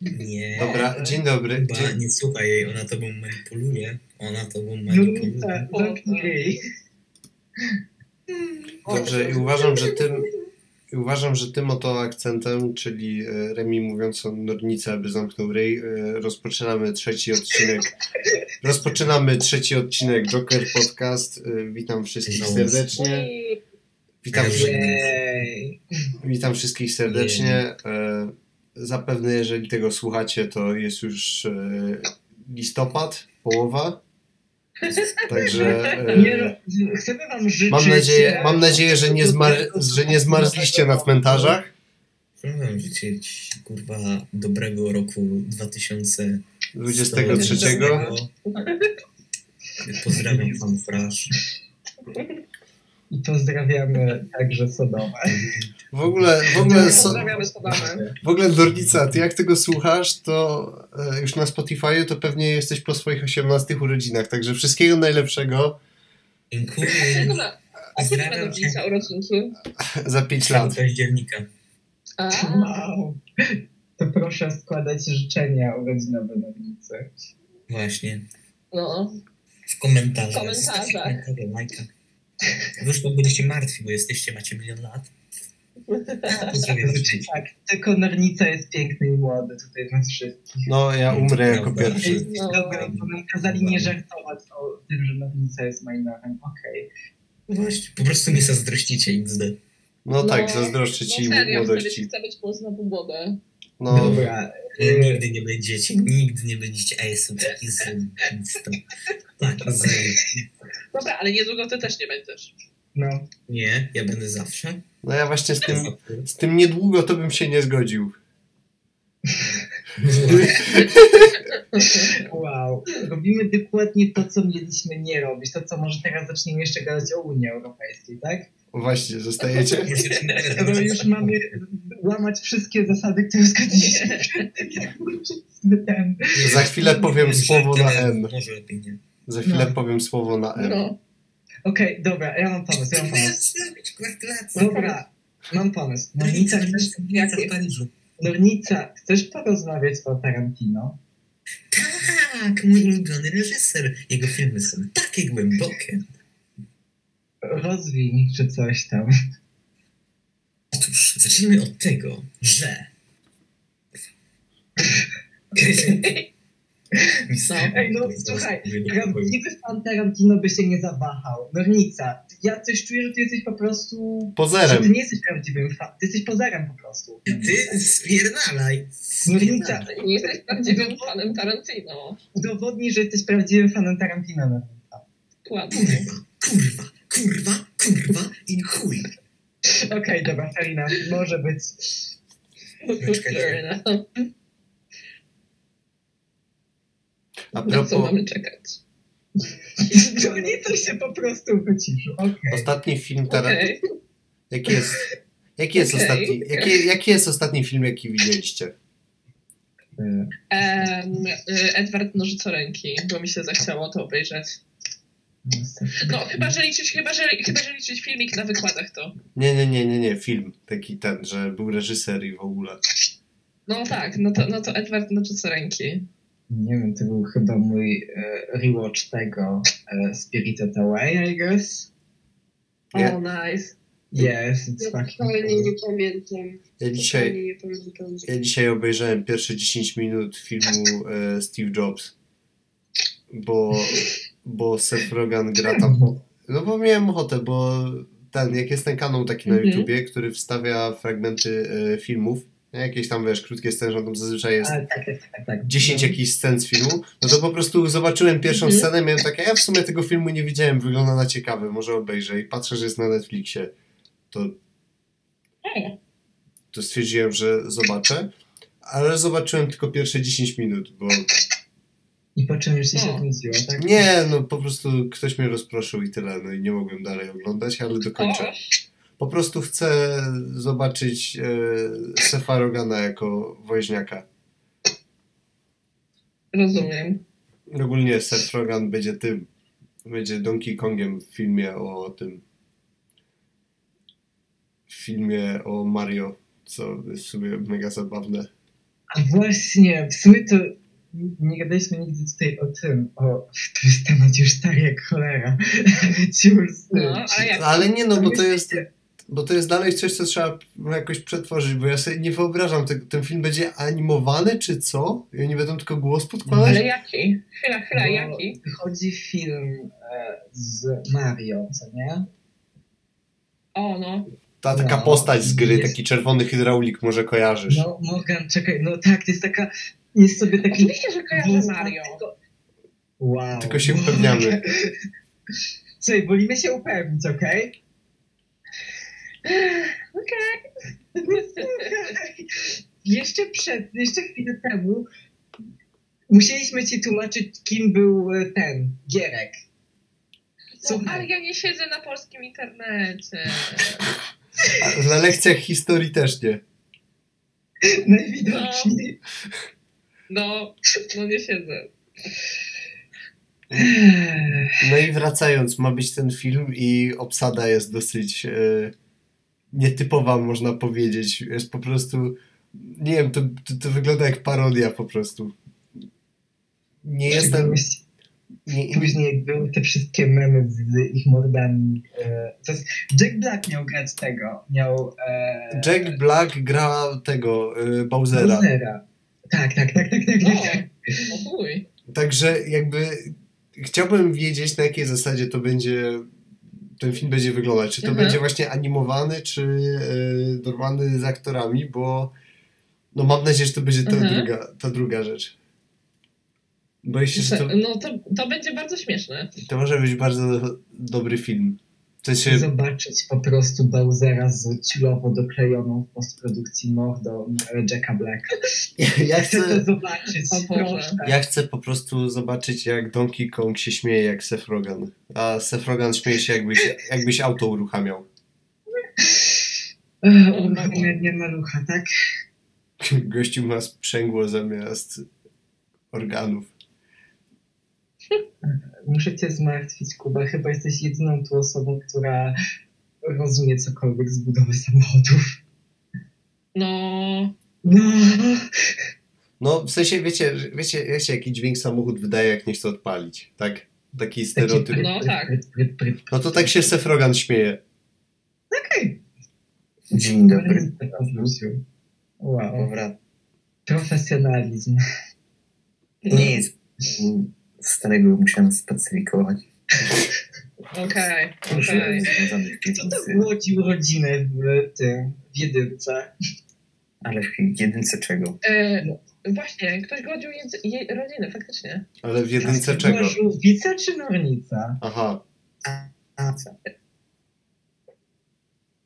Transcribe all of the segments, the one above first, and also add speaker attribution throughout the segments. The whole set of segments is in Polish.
Speaker 1: Nie.
Speaker 2: Dobra, dzień dobry.
Speaker 1: Ba,
Speaker 2: Dzień...
Speaker 1: nie słuchaj jej, ona tobą manipuluje. Ona tobą
Speaker 3: No
Speaker 1: manipuluje.
Speaker 3: Julita, zamknij jej.
Speaker 2: Dobrze, i uważam, że tym i uważam, że tym oto akcentem, czyli e, Remi mówiąc o Nornicy, aby zamknął ryj, e, rozpoczynamy trzeci odcinek. Rozpoczynamy trzeci odcinek Joker Podcast. E, Witam wszystkich
Speaker 1: Znowu.
Speaker 2: serdecznie. Witam,
Speaker 3: Jej.
Speaker 2: witam wszystkich serdecznie. E, Zapewne, jeżeli tego słuchacie, to jest już e, listopad, połowa. Także. e,
Speaker 3: tak. Nie, no, ro- chcemy wam życzyć...
Speaker 2: Mam nadzieję, mam nadzieję że, nie zmar, że nie zmarzliście na cmentarzach.
Speaker 1: Chciałbym życzyć, kurwa, dobrego roku 2023.
Speaker 2: 23.
Speaker 1: Pozdrawiam pan Frasz.
Speaker 3: I pozdrawiamy także Sodoma.
Speaker 2: W ogóle, w ogóle, so,
Speaker 4: Pozdrawiamy Sodomę.
Speaker 2: w ogóle Dornica, ty jak tego słuchasz, to e, już na Spotify to pewnie jesteś po swoich 18 urodzinach, także wszystkiego najlepszego
Speaker 1: Dziękuję.
Speaker 4: Dobra, Kiedy będą dziś urodzinki?
Speaker 2: za 5
Speaker 1: Ślad
Speaker 2: lat.
Speaker 1: października.
Speaker 4: A,
Speaker 3: Wow. To proszę składać życzenia urodzinowe Nornicy.
Speaker 1: Właśnie.
Speaker 4: no.
Speaker 1: W komentarzach.
Speaker 4: W komentarzach.
Speaker 1: Zostawcie komentarze, Lajka. Wy już będziecie martwi, bo jesteście, macie milion lat. Pozdrawiam wszystkich.
Speaker 3: Tak, tylko Nornica jest piękny i młody tutaj nas wszystkich.
Speaker 2: No, ja umrę jako
Speaker 1: Prawda.
Speaker 2: pierwszy.
Speaker 4: No.
Speaker 3: Dobra, bo nam kazali nie żartować o tym, że Nornica jest minorem. Okej.
Speaker 1: No Właśnie, po prostu nie zazdrościcie XD.
Speaker 2: No tak,
Speaker 4: No,
Speaker 2: zazdroszczę
Speaker 4: No
Speaker 2: ci
Speaker 4: serio, wtedy
Speaker 2: młodości.
Speaker 4: chcę być po znowu młode.
Speaker 2: No,
Speaker 3: Dobra.
Speaker 1: Nigdy nie będziecie, nigdy nie będziecie. A jestem taki zajebisty. Taki zajebisty.
Speaker 4: Dobra, ale niedługo ty też nie będziesz.
Speaker 3: No.
Speaker 1: Nie, ja będę zawsze.
Speaker 2: no ja właśnie z tym, z tym niedługo to bym się nie zgodził.
Speaker 3: Wow, robimy dokładnie to, co mieliśmy nie robić, to co może teraz zaczniemy jeszcze gadać o Unii Europejskiej, tak?
Speaker 2: Właśnie, zostajecie?
Speaker 3: No
Speaker 1: tak.
Speaker 3: już mamy łamać wszystkie zasady, które zgodziliśmy. Ten.
Speaker 2: Za chwilę powiem słowo na N.
Speaker 1: Może lepiej nie.
Speaker 2: Za chwilę
Speaker 3: No.
Speaker 2: powiem słowo na N.
Speaker 4: No.
Speaker 3: Okej, dobra, ja mam pomysł, ja mam pomysł.
Speaker 1: Dobra.
Speaker 3: Dobra, mam pomysł. Nornica,
Speaker 1: Nornica
Speaker 3: chcesz,
Speaker 1: jak w Paryżu.
Speaker 3: Nornica, chcesz porozmawiać o Tarantino?
Speaker 1: Tak, mój ulubiony reżyser. Jego filmy są takie głębokie.
Speaker 3: Rozwin czy coś tam.
Speaker 1: Otóż zacznijmy od tego, że. Sam-
Speaker 3: Ej, no, słuchaj, Prawdziwy fan Tarantino by się nie zawahał. Nornica, ja coś czuję, że ty jesteś po prostu Że ty
Speaker 2: Pozerem.
Speaker 3: nie jesteś prawdziwym fanem, ty jesteś pozerem po prostu.
Speaker 1: Ty spierdalaj.
Speaker 3: Nornica,
Speaker 4: Nie jesteś prawdziwym fanem Tarantino.
Speaker 3: udowodnij, że jesteś prawdziwym fanem Tarantino. Nornica.
Speaker 4: Dokładnie.
Speaker 1: Kurwa, kurwa, kurwa, kurwa i chuj.
Speaker 3: Okej, dobra, fair enough, może być.
Speaker 1: Czekajcie.
Speaker 4: no
Speaker 2: A
Speaker 4: Na co
Speaker 2: propos,
Speaker 4: mamy czekać?
Speaker 3: Nornica się po prostu wyciszył, okej.
Speaker 2: ostatni film Tarantino.
Speaker 4: Okej.
Speaker 2: Jaki jest, jaki jest,
Speaker 4: Okej.
Speaker 2: ostatni, jaki, jaki jest ostatni film, jaki widzieliście?
Speaker 3: Okay.
Speaker 4: Em, y, Edward nożycoręki, bo mi się zachciało to obejrzeć. No, chyba, że liczyć, chyba, że, chyba, że liczyć filmik na wykładach to.
Speaker 2: Nie, nie, nie, nie, nie, film taki ten, że był reżyser i w ogóle.
Speaker 4: No tak, no to, no to Edward nożycoręki.
Speaker 3: Nie wiem, to był chyba mój e, rewatch tego e, Spirited Away, I guess.
Speaker 2: Nie.
Speaker 4: Oh, nice.
Speaker 3: Yes, it's fucking cool.
Speaker 5: Tak, pamiętam.
Speaker 2: Ja dzisiaj,
Speaker 5: nie pamiętam.
Speaker 2: ja dzisiaj obejrzałem pierwsze 10 minut filmu e, Steve Jobs, bo, bo Seth Rogen gra tam. No bo miałem ochotę, bo ten, jak jest ten kanał taki na
Speaker 4: Mhm.
Speaker 2: YouTubie, który wstawia fragmenty e, filmów, nie, jakieś tam, wiesz, krótkie sceny, że tam zazwyczaj jest
Speaker 3: Ale tak, tak, tak, tak.
Speaker 2: 10 jakichś scen z filmu, no to po prostu zobaczyłem pierwszą
Speaker 4: Mhm.
Speaker 2: scenę, miałem takie, ja w sumie tego filmu nie widziałem, wygląda na ciekawy, może obejrzę i patrzę, że jest na Netflixie, to, to stwierdziłem, że zobaczę, ale zobaczyłem tylko pierwsze 10 minut, bo
Speaker 3: I po czym już ci się
Speaker 4: O.
Speaker 3: wróciło, tak?
Speaker 2: nie, no po prostu ktoś mnie rozproszył i tyle, no i nie mogłem dalej oglądać, ale
Speaker 4: Mhm.
Speaker 2: dokończę. Po prostu chcę zobaczyć e, Sefa Rogana jako woźniaka.
Speaker 4: Rozumiem.
Speaker 2: Ogólnie Seth Rogen będzie tym, będzie Donkey Kongiem w filmie o tym, w filmie o Mario, co jest w sumie mega zabawne.
Speaker 3: A właśnie, w sumie to nie gadaliśmy nigdy tutaj o tym, o to jest temat już stary jak cholera, więc już...
Speaker 4: No, a jak?
Speaker 2: Ale nie no, bo to jest... Bo to jest dalej coś, co trzeba jakoś przetworzyć, bo ja sobie nie wyobrażam, tego- ten film będzie animowany czy co? I oni będą tylko głos podkładać?
Speaker 4: Ale jaki? Chwila, chwila,
Speaker 3: Bo
Speaker 4: jaki?
Speaker 3: Wychodzi film e, z Mario, co nie?
Speaker 4: O, no.
Speaker 2: Ta taka
Speaker 3: No.
Speaker 2: postać z gry,
Speaker 3: Jest.
Speaker 2: taki czerwony hydraulik, może kojarzysz.
Speaker 3: No Morgan, czekaj, no tak, to jest taka, jest sobie taki...
Speaker 4: Oczywiście, że kojarzę Mario. No,
Speaker 3: Wow.
Speaker 2: Tylko się upewniamy.
Speaker 3: Słuchaj, wolimy się upewnić, okej?
Speaker 4: Okej.
Speaker 3: jeszcze przed, jeszcze chwilę temu musieliśmy ci tłumaczyć, kim był e, ten Gierek.
Speaker 4: No,
Speaker 3: Super.
Speaker 4: ale ja nie siedzę na polskim internecie.
Speaker 2: A Na lekcjach historii też nie.
Speaker 3: Najwidoczniej.
Speaker 4: No, no nie siedzę.
Speaker 2: No i wracając, ma być ten film i obsada jest dosyć e, nietypowa, można powiedzieć. Jest po prostu, nie wiem, to, to, to wygląda jak parodia po prostu. Nie jestem... Nie,
Speaker 3: Później jak były te wszystkie memy z, z ich mordami. E, to jest, Jack Black miał grać tego. Miał. E,
Speaker 2: Jack Black gra tego, e, Bowsera.
Speaker 3: Bowsera. Tak, tak, tak, tak, tak,
Speaker 4: O,
Speaker 3: tak, tak.
Speaker 4: o No, chuj.
Speaker 2: Także jakby chciałbym wiedzieć, na jakiej zasadzie to będzie ten film będzie wyglądać. Czy to
Speaker 4: Mhm.
Speaker 2: będzie właśnie animowany, czy y, normalny z aktorami, bo no mam nadzieję, że to będzie ta,
Speaker 4: Mhm.
Speaker 2: druga, ta druga rzecz. Boję się, że to,
Speaker 4: No to, to będzie bardzo śmieszne.
Speaker 2: to może być bardzo dobry film. W sensie,
Speaker 3: Zobaczyć po prostu Bowsera z ciulowo doklejoną w postprodukcji mordą e, Jacka Blacka.
Speaker 2: ja
Speaker 3: Chcę to
Speaker 2: chcę,
Speaker 3: zobaczyć.
Speaker 4: O Boże.
Speaker 3: proszę.
Speaker 2: ja chcę po prostu zobaczyć, jak Donkey Kong się śmieje, jak Seth Rogen. A Seth Rogen śmieje się, jakbyś, jakbyś auto uruchamiał.
Speaker 3: Ech, Uruchamianie malucha, tak?
Speaker 2: Gościu ma sprzęgło zamiast organów.
Speaker 3: Muszę cię zmartwić, Kuba. Chyba jesteś jedyną tu osobą, która rozumie cokolwiek z budowy samochodów.
Speaker 4: No,
Speaker 3: No,
Speaker 2: No, w sensie, wiecie, wiecie, wiecie jaki dźwięk samochód wydaje, jak nie chce odpalić, tak? Taki stereotyp.
Speaker 4: No tak.
Speaker 2: No to tak się Sefrogan śmieje.
Speaker 3: Okej.
Speaker 1: Dzień dobry.
Speaker 3: Okay. Wow.
Speaker 1: Dobra.
Speaker 3: Profesjonalizm.
Speaker 1: Nie jest starego, musiałem specyfikować.
Speaker 4: okej,
Speaker 1: Proszę,
Speaker 4: okej.
Speaker 1: związanych
Speaker 3: Kto tak
Speaker 1: piwnicy.
Speaker 3: głodził rodzinę w tym, w jedynce?
Speaker 1: Ale w jedynce czego?
Speaker 4: E, Właśnie, ktoś godził jedz- jej rodzinę, faktycznie.
Speaker 2: Ale w jedynce czego?
Speaker 3: Była żółwica czy nornica?
Speaker 2: Aha.
Speaker 1: A co?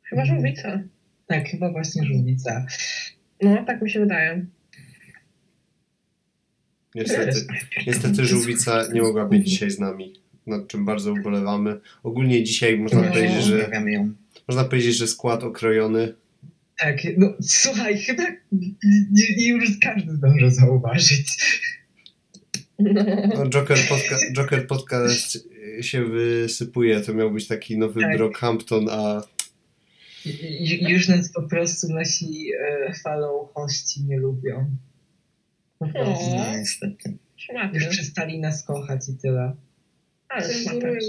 Speaker 4: Chyba żółwica.
Speaker 3: Tak, chyba właśnie żółwica.
Speaker 4: No, tak mi się wydaje.
Speaker 2: Niestety, niestety żółwica nie mogła być dzisiaj z nami, nad czym bardzo ubolewamy. Ogólnie dzisiaj można
Speaker 4: No.
Speaker 2: powiedzieć, że,
Speaker 1: Pozdrawiamy ją.
Speaker 2: można powiedzieć, że skład okrojony.
Speaker 3: Tak, no słuchaj, chyba nie, nie już każdy zdąży zauważyć.
Speaker 4: No,
Speaker 2: No, Joker, podca Joker Podcast y, się wysypuje, to miał być taki nowy
Speaker 3: Tak.
Speaker 2: Brockhampton, a
Speaker 3: Ju- Już nas po prostu nasi e, follow-hości nie lubią. Po prostu.
Speaker 4: O.
Speaker 1: No niestety.
Speaker 4: szmaty.
Speaker 3: Już przestali nas kochać i tyle.
Speaker 4: Ale szmaty.
Speaker 5: Cenzurują,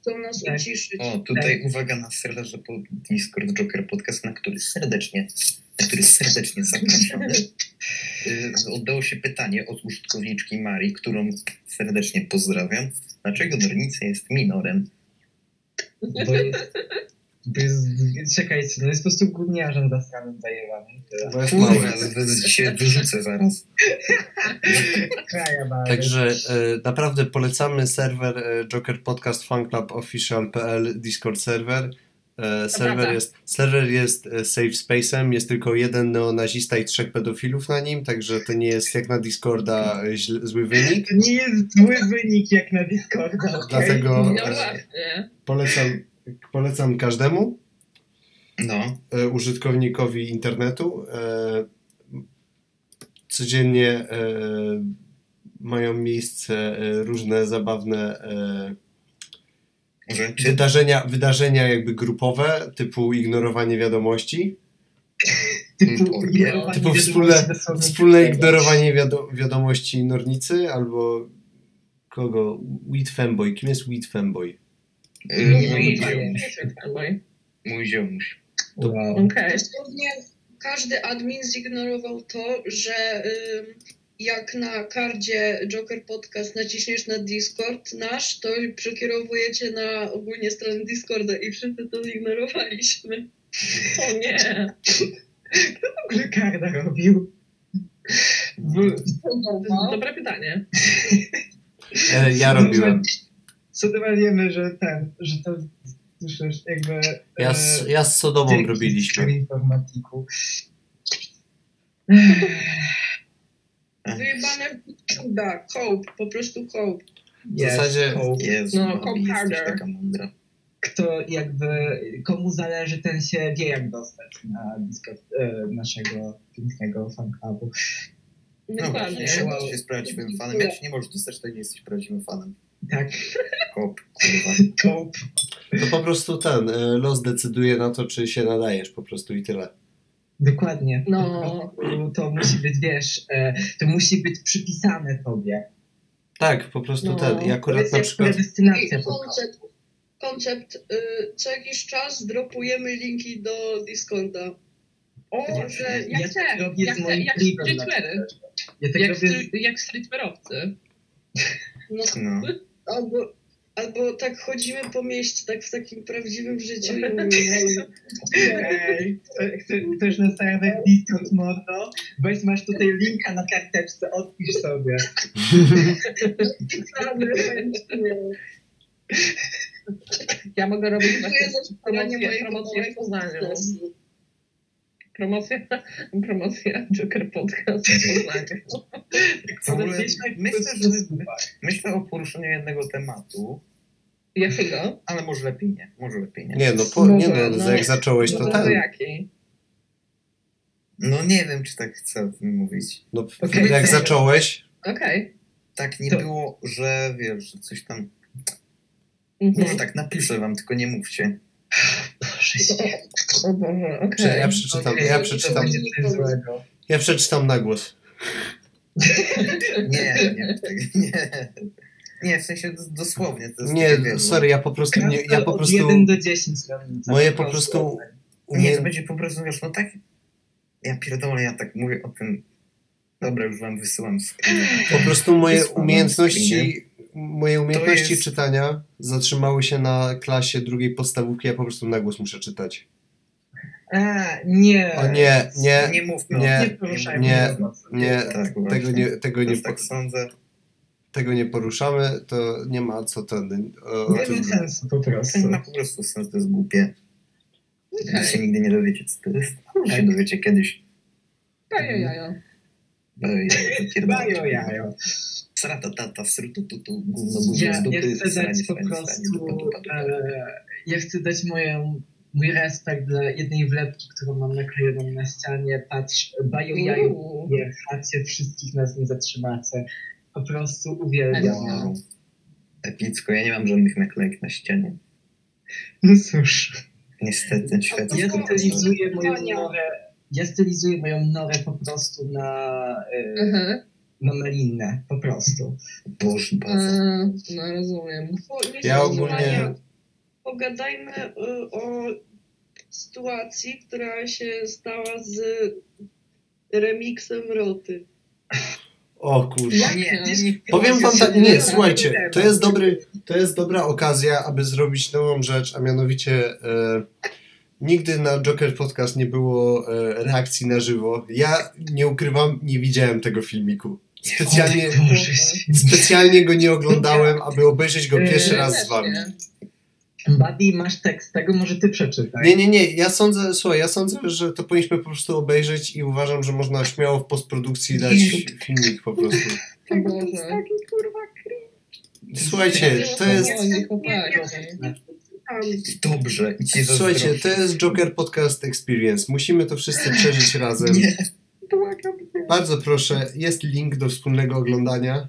Speaker 5: chcą nas
Speaker 3: Tak.
Speaker 5: uciszyć.
Speaker 1: O, tutaj uwaga na serwerze pod Discord Joker Podcast, na który serdecznie, na który serdecznie zapraszam. Y, Oddało się pytanie od użytkowniczki Marii, którą serdecznie pozdrawiam. Dlaczego Nornica jest minorem?
Speaker 3: Bo jest, bo jest czekajcie, no jest po prostu gówniarzem zasranym zajebanym. Tyle.
Speaker 2: bo jest mały.
Speaker 1: Kurwa, z- z- się wyrzucę zaraz.
Speaker 3: Kraja bardzo.
Speaker 2: Także e, naprawdę polecamy serwer e, Joker Podcast Fan Club Official.pl Discord serwer. E, serwer
Speaker 4: prawda.
Speaker 2: jest, serwer jest e, safe space'em, jest tylko jeden neonazista i trzech pedofilów na nim, także to nie jest jak na Discorda e, źle, zły wynik.
Speaker 3: To nie jest zły wynik jak na Discorda. okej?
Speaker 2: Dlatego-
Speaker 4: No
Speaker 2: e,
Speaker 4: właśnie.
Speaker 2: Polecam, polecam każdemu
Speaker 1: No,
Speaker 2: e, użytkownikowi internetu. E, codziennie e, mają miejsce e, różne zabawne e,
Speaker 1: rzeczy.
Speaker 2: wydarzenia, wydarzenia jakby grupowe, typu ignorowanie wiadomości.
Speaker 3: Typu, ignorowanie
Speaker 2: Typu wspólne,
Speaker 3: wiadomości dosłownie
Speaker 2: wspólne
Speaker 3: każdego.
Speaker 2: ignorowanie wiado wiadomości Nornicy albo kogo? Weed Femboy. Kim jest Weed Femboy?
Speaker 1: Y, Mój
Speaker 3: Dziękuję.
Speaker 1: ziomuś. Mój ziomuś.
Speaker 3: Wow.
Speaker 4: Okej.
Speaker 5: Dosłownie każdy admin zignorował to, że ym, jak na kardzie Joker Podcast naciśniesz na Discord nasz, to przekierowujecie na ogólnie stronę Discorda i wszyscy to zignorowaliśmy.
Speaker 4: O nie.
Speaker 3: W ogóle Karda robił. W-
Speaker 4: To
Speaker 5: No.
Speaker 4: jest dobre pytanie.
Speaker 2: E, ja robiłem.
Speaker 3: Sodoma wiemy, że ten, że to słyszysz jakby... e,
Speaker 2: Ja z, ja z Sodomą robiliśmy.
Speaker 3: informatiku.
Speaker 5: Wyjebane cuda, cope, po prostu cope.
Speaker 2: W zasadzie-
Speaker 1: Jezu,
Speaker 4: No,
Speaker 1: no,
Speaker 4: come
Speaker 1: jesteś
Speaker 4: harder.
Speaker 1: taka mądra.
Speaker 3: kto jakby, komu zależy, ten się wie jak dostać na Discord e, naszego pięknego fanclubu.
Speaker 1: No
Speaker 4: Dokładnie.
Speaker 1: właśnie, trzeba się z prawdziwym fanem. Jak się nie możesz dostać, to nie jesteś prawdziwym fanem.
Speaker 3: Tak,
Speaker 1: Kop, kurwa.
Speaker 3: cope.
Speaker 2: To po prostu ten, e, los decyduje na to, czy się nadajesz po prostu i tyle.
Speaker 3: Dokładnie.
Speaker 4: No.
Speaker 3: To musi być, wiesz, e, to musi być przypisane tobie.
Speaker 2: Tak, po prostu
Speaker 4: No,
Speaker 2: ten. I
Speaker 3: To
Speaker 2: akurat
Speaker 3: jest
Speaker 2: na
Speaker 3: jak
Speaker 2: przykład...
Speaker 5: I
Speaker 3: predestynacja po prostu.
Speaker 5: koncept, koncept y, co jakiś czas dropujemy linki do Discorda.
Speaker 4: O, że ja,
Speaker 3: Ja
Speaker 4: chcę.
Speaker 3: tak robię
Speaker 4: Ja
Speaker 3: z
Speaker 4: chcę,
Speaker 3: moim
Speaker 4: jak
Speaker 3: klipem na
Speaker 4: streetweary.
Speaker 3: przykład. Ja tak
Speaker 4: Jak,
Speaker 3: robię z
Speaker 4: stry- jak streetwearowcy.
Speaker 5: No,
Speaker 1: No.
Speaker 5: Albo, albo tak chodzimy po mieście, tak w takim prawdziwym życiu. i mówimy,
Speaker 3: Ej, chce- Chcesz na serwer Discord Mondo? Weź masz tutaj linka na karteczce, odpisz sobie.
Speaker 5: tak
Speaker 4: Ja mogę robić właśnie
Speaker 5: Dziękuję za wspieranie
Speaker 4: promocję,
Speaker 5: mojej
Speaker 4: promocję w Poznaniu.
Speaker 5: Poznaniu.
Speaker 4: Promocja, promocja Joker Podcast w Poznaniu.
Speaker 1: W ogóle
Speaker 3: tak
Speaker 1: myślę, że,
Speaker 3: Super.
Speaker 1: myślę o poruszeniu jednego tematu,
Speaker 4: Jakiego?
Speaker 1: ale może lepiej nie. Może lepiej nie.
Speaker 2: Nie no, po, nie
Speaker 4: Dobra,
Speaker 2: no,
Speaker 4: no.
Speaker 2: jak zacząłeś to
Speaker 4: No
Speaker 2: ten.
Speaker 4: jaki?
Speaker 1: No nie wiem, czy tak chcę o tym mówić.
Speaker 2: No,
Speaker 3: Okej.
Speaker 2: Jak zacząłeś,
Speaker 4: Okej.
Speaker 1: Tak nie
Speaker 3: To-
Speaker 1: było, że wiesz, że coś tam... Może
Speaker 4: Mhm.
Speaker 1: tak napiszę wam, tylko nie mówcie.
Speaker 3: Boże święty.
Speaker 4: O Boże,
Speaker 2: Prze-
Speaker 4: okej.
Speaker 2: ja przeczytam,
Speaker 3: Okej,
Speaker 2: ja
Speaker 3: to
Speaker 2: przeczytam,
Speaker 3: będzie coś złego.
Speaker 2: ja przeczytam na głos.
Speaker 1: Nie, nie, tak, nie. Nie, w sensie d- dosłownie. To jest takie
Speaker 2: Nie,
Speaker 1: wielu.
Speaker 2: sorry, ja po prostu nie, ja po
Speaker 3: Od
Speaker 2: prostu
Speaker 3: 1 do 10 ravnica.
Speaker 2: Moje po prostu-
Speaker 1: Nie, to
Speaker 2: nie,
Speaker 1: będzie po prostu, wiesz, no tak... Ja pierdolę, ja tak mówię o tym... Dobra, już wam wysyłam screena.
Speaker 2: po prostu moje
Speaker 1: Wysłałam
Speaker 2: umiejętności, moje umiejętności
Speaker 1: jest-
Speaker 2: czytania zatrzymały się na klasie drugiej podstawówki, ja po prostu na głos muszę czytać.
Speaker 3: A, nie.
Speaker 2: O nie, nie,
Speaker 1: Eee, No Nie mówmy
Speaker 2: nie,
Speaker 1: o
Speaker 3: Nie
Speaker 1: tym.
Speaker 3: poruszajmy
Speaker 2: nie,
Speaker 1: mówmy o tym.
Speaker 2: nie,
Speaker 1: Tak,
Speaker 2: tego
Speaker 1: właśnie.
Speaker 2: nie, tego
Speaker 1: Też
Speaker 2: nie, po-
Speaker 1: tak sądzę.
Speaker 2: tego nie poruszamy, to nie ma co ten, o, o
Speaker 3: Nie ma
Speaker 2: tym,
Speaker 3: sensu po
Speaker 1: To nie
Speaker 3: prostu.
Speaker 1: ma po prostu sensu, to jest głupie.
Speaker 4: Okej.
Speaker 1: Wy się nigdy nie dowiecie, co to jest. Może się dowiecie kiedyś.
Speaker 4: Pajajaja.
Speaker 1: Ej, ja pierdolę.
Speaker 3: Bajo jajo.
Speaker 1: Srata tata, srutu tutu, gówno gówno
Speaker 3: Ja,
Speaker 1: z tak,
Speaker 3: ja
Speaker 1: dupy,
Speaker 3: chcę dać
Speaker 1: sranie,
Speaker 3: po
Speaker 1: sranie, sranie, dupa,
Speaker 3: prostu...
Speaker 1: dupa, dupa.
Speaker 3: E, ja chcę dać moją, mój respekt dla jednej wlepki, którą mam naklejoną na ścianie. Patrz, bajo
Speaker 1: Mm.
Speaker 3: jajo.
Speaker 4: Uuu.
Speaker 3: Jechacie, wszystkich nas nie zatrzymacie. Po prostu uwielbiam.
Speaker 1: Wow. Epicko, ja nie mam żadnych naklejek na ścianie.
Speaker 3: No cóż.
Speaker 1: Niestety, świat
Speaker 3: Ja
Speaker 1: jest
Speaker 5: Jezu,
Speaker 1: kompletny.
Speaker 3: stylizuję moją norę. Ja stylizuję moją norę po prostu na, y,
Speaker 4: Mhm.
Speaker 3: na melinnę. Po prostu.
Speaker 1: Boże, baza.
Speaker 4: E, No rozumiem.
Speaker 5: Bo nie
Speaker 2: Ja
Speaker 5: są
Speaker 2: ogólnie-
Speaker 5: zdania. Pogadajmy y, o sytuacji, która się stała z remiksem Roty.
Speaker 2: o kurwa.
Speaker 1: Nie,
Speaker 2: Powiem wam tak,
Speaker 4: Nie,
Speaker 2: nie, słuchajcie, to jest, dobry, to jest dobra okazja, aby zrobić nową rzecz, a mianowicie e, nigdy na Joker Podcast nie było e, reakcji na żywo. Ja nie ukrywam, nie widziałem tego filmiku. Specjalnie,
Speaker 3: O Boże, święty.
Speaker 2: specjalnie go nie oglądałem, aby obejrzeć go pierwszy raz z wami.
Speaker 3: Buddy, masz tekst tego, może ty przeczytaj.
Speaker 2: Nie, nie, nie, ja sądzę, słuchaj, ja sądzę, że to powinniśmy po prostu obejrzeć i uważam, że można śmiało w postprodukcji dać filmik po prostu.
Speaker 4: O Boże.
Speaker 2: Słuchajcie, to jest...
Speaker 4: Oni chłopaki.
Speaker 1: Dobrze, i ci
Speaker 2: Słuchajcie,
Speaker 1: zazdroszczę.
Speaker 2: to jest Joker Podcast Experience. Musimy to wszyscy przeżyć razem.
Speaker 1: Nie.
Speaker 2: Bardzo proszę, jest link do wspólnego oglądania.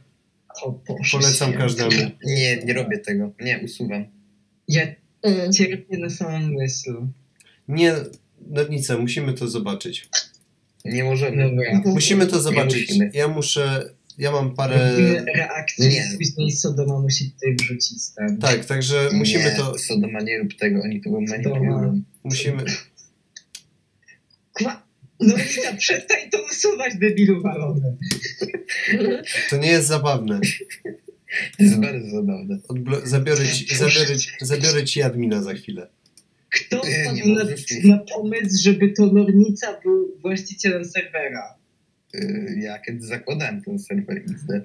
Speaker 3: O Boże,
Speaker 2: Polecam
Speaker 3: święty.
Speaker 2: każdemu.
Speaker 1: Nie, nie robię tego. Nie, usuwam.
Speaker 3: Ja
Speaker 4: Mm.
Speaker 3: cierpię na samą myśl.
Speaker 2: Nie, Nornica, musimy no to zobaczyć.
Speaker 1: Nie możemy.
Speaker 3: Dobra.
Speaker 2: Musimy to zobaczyć.
Speaker 1: musimy.
Speaker 2: Ja muszę. Ja mam parę.
Speaker 3: Robimy reakcję
Speaker 1: Nie.
Speaker 3: z Disney Sodoma musi tutaj wrzucić stan.
Speaker 2: Tak, także musimy
Speaker 1: nie,
Speaker 2: to.
Speaker 1: Sodoma, nie rób tego, oni to manipulują.
Speaker 3: Sodoma.
Speaker 2: Musimy.
Speaker 3: Kła... No Rita, przestań to usuwać debilu walone.
Speaker 2: To nie jest zabawne.
Speaker 1: To jest bardzo zabawne.
Speaker 2: Odblo- zabiorę, ci, zabiorę, ci- zabiorę ci admina za chwilę.
Speaker 3: Kto
Speaker 1: Nie, nie
Speaker 3: wpadł na,
Speaker 1: możesz mieć.
Speaker 3: na pomysł, żeby to Nornica był właścicielem serwera?
Speaker 1: Yy, Ja kiedy zakładałem ten serwer XD.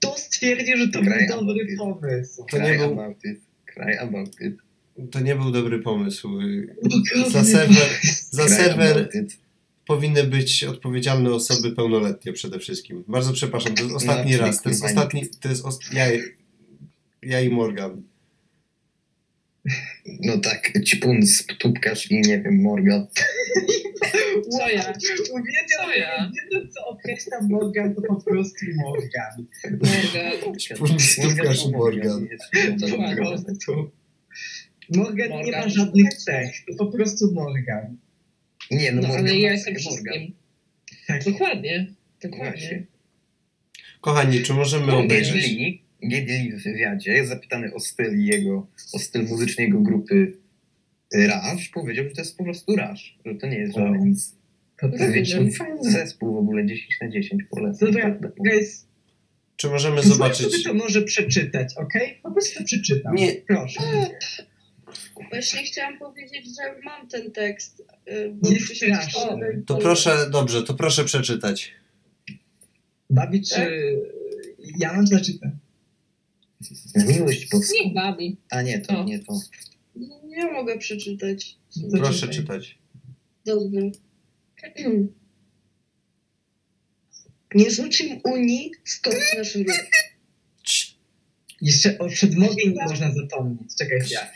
Speaker 3: To stwierdził, że to
Speaker 1: Graj,
Speaker 3: był dobry
Speaker 1: Amber.
Speaker 3: pomysł.
Speaker 2: To nie
Speaker 1: Cry
Speaker 2: był-
Speaker 1: about it. Cry about it.
Speaker 2: To nie był dobry pomysł. Za
Speaker 3: Ogromny
Speaker 2: serwer, za
Speaker 1: Cry
Speaker 2: serwer
Speaker 1: about it.
Speaker 2: powinny być odpowiedzialne osoby pełnoletnie przede wszystkim. Bardzo przepraszam, to jest ostatni
Speaker 1: czyli
Speaker 2: raz. To jest
Speaker 1: kurwa
Speaker 2: ostatni. To jest os- ja, ja i Morgan.
Speaker 1: No tak, ćpuns, ptupkarz i nie wiem, Morgan.
Speaker 4: Co ja?
Speaker 3: Uwielbiam,
Speaker 4: Co ja?
Speaker 3: jedyne co określa Morgan to po prostu Morgan.
Speaker 4: Morgan.
Speaker 2: Ćpuns, ptupkarz i Morgan.
Speaker 4: Morgan.
Speaker 3: Morgan, nie
Speaker 4: Morgan.
Speaker 3: ma żadnych cech, to po prostu Morgan.
Speaker 1: Nie, no,
Speaker 4: No
Speaker 1: Morgan.
Speaker 4: ale ja
Speaker 1: ma
Speaker 4: jestem
Speaker 1: cech, Morgan.
Speaker 4: wszystkim.
Speaker 3: Tak.
Speaker 4: Dokładnie. Dokładnie.
Speaker 1: Właśnie.
Speaker 2: Kochani, czy możemy obejrzeć?
Speaker 1: Gedli, Gedli w wywiadzie, zapytany o styl jego, o styl muzyczny jego grupy Rush, powiedział, że to jest po prostu Rush, że to nie jest
Speaker 3: O.
Speaker 1: żaden
Speaker 3: To
Speaker 4: Tak,
Speaker 1: Wiecie,
Speaker 4: że-
Speaker 1: fajny zespół w ogóle, 10 na 10 polecam.
Speaker 3: Dobra,
Speaker 1: naprawdę.
Speaker 3: Guys,
Speaker 2: Czy możemy
Speaker 3: pozwól sobie
Speaker 2: zobaczyć?
Speaker 3: to może przeczytać, okej? Po prostu przeczytam.
Speaker 2: Nie.
Speaker 3: Proszę.
Speaker 5: Właśnie chciałam powiedzieć, że mam ten tekst. y, Bo
Speaker 3: Nie
Speaker 5: mi się
Speaker 3: straszne.
Speaker 5: przypomniał.
Speaker 2: To proszę, dobrze, to proszę przeczytać.
Speaker 3: Babi, czy... Ja mam znaczy, przeczytać.
Speaker 1: Na miłość pod...
Speaker 4: Nie bawi.
Speaker 1: A nie, to
Speaker 4: O.
Speaker 1: nie to.
Speaker 5: Nie mogę przeczytać.
Speaker 3: To
Speaker 2: Proszę
Speaker 3: czytaj.
Speaker 2: czytać.
Speaker 5: Dobrze. Nie rzucim Unii, stąd nasz ruch.
Speaker 2: Cii.
Speaker 3: Jeszcze o przedmowie nie można zapomnieć. Czekaj chwilę.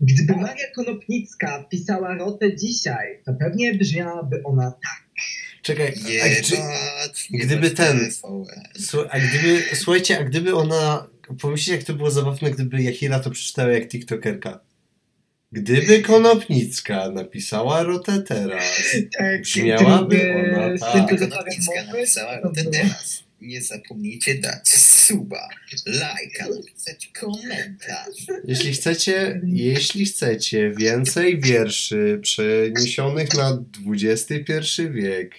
Speaker 3: Gdyby Maria Konopnicka pisała rotę dzisiaj, to pewnie brzmiałaby ona tak.
Speaker 2: Czekaj, a,
Speaker 1: Jebać,
Speaker 2: czy,
Speaker 1: jebać
Speaker 2: gdyby ten-
Speaker 1: TVN.
Speaker 2: słu- a gdyby, słuchajcie, a gdyby ona, pomyślcie jak to było zabawne, gdyby Jachira to przeczytała jak tiktokerka. Gdyby Konopnicka napisała rotę teraz.
Speaker 3: tak
Speaker 2: Brzmiałaby
Speaker 3: gdyby
Speaker 2: ona tak.
Speaker 3: syn tego
Speaker 1: Konopnicka
Speaker 3: zamowy,
Speaker 1: napisała
Speaker 3: to
Speaker 1: ten
Speaker 3: było.
Speaker 1: teraz. Nie zapomnijcie dać suba, lajka, napisać komentarz.
Speaker 2: Jeśli chcecie, jeśli chcecie więcej wierszy przeniesionych na XXI wiek,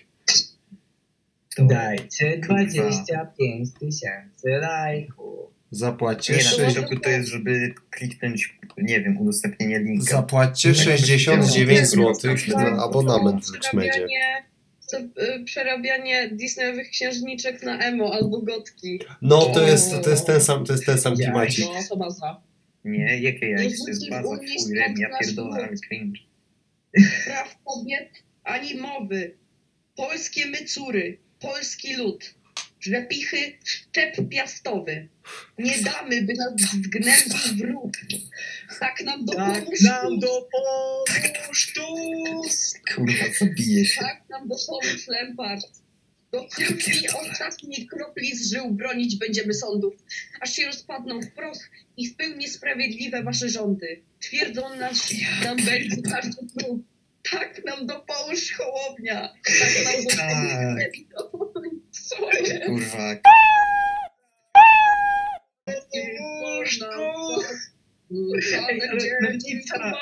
Speaker 1: To
Speaker 3: Dajcie 25 tysięcy lajków.
Speaker 2: zapłaćcie,
Speaker 1: nie, na
Speaker 2: sze-
Speaker 1: tym roku to jest, żeby kliknąć, nie wiem, udostępnienie linka.
Speaker 2: zapłaćcie 69 zł na abonament w Liczmedzie.
Speaker 5: Przerabianie, to, y, przerabianie Disneyowych księżniczek na emo albo gotki.
Speaker 2: No to jest, to jest ten sam, to jest ten sam
Speaker 3: Ja.
Speaker 2: klimacik.
Speaker 4: No, osoba za.
Speaker 1: Nie, jakie ja
Speaker 5: Nie
Speaker 1: jest, to jest
Speaker 5: rzucił
Speaker 1: baza,
Speaker 5: Unii
Speaker 1: chuj, rem, ja
Speaker 5: stąd
Speaker 1: pierdolę,
Speaker 5: nasz
Speaker 1: ale cringe.
Speaker 5: Praw kobiet ani mowy. Polskie mycury. Polski lud. Rzepichy szczep piastowy. Nie damy, by nas zgnębił wróg. Tak nam
Speaker 3: Tak
Speaker 5: dopomóż
Speaker 3: nam
Speaker 5: Bóg.
Speaker 3: dopomóż Tusk!
Speaker 1: Kurwa, zabiję się.
Speaker 5: Tak nam dopomóż Lempart. Do krwi ostatniej kropli z żył bronić będziemy sądów, aż się rozpadną w proch i w pełni sprawiedliwe wasze rządy. Twierdzą nas, nam będzie każdy próg. Tak nam dopomóż Hołownia. Tak nam dopomóż
Speaker 1: Tak.
Speaker 5: Lewidowski. Co jest?
Speaker 1: Kurwa,
Speaker 3: Dopomóż
Speaker 5: Nam
Speaker 3: Tusk!
Speaker 5: Trzeba
Speaker 3: Ej, ale
Speaker 5: będzie
Speaker 3: Lewnica.
Speaker 5: walczyć.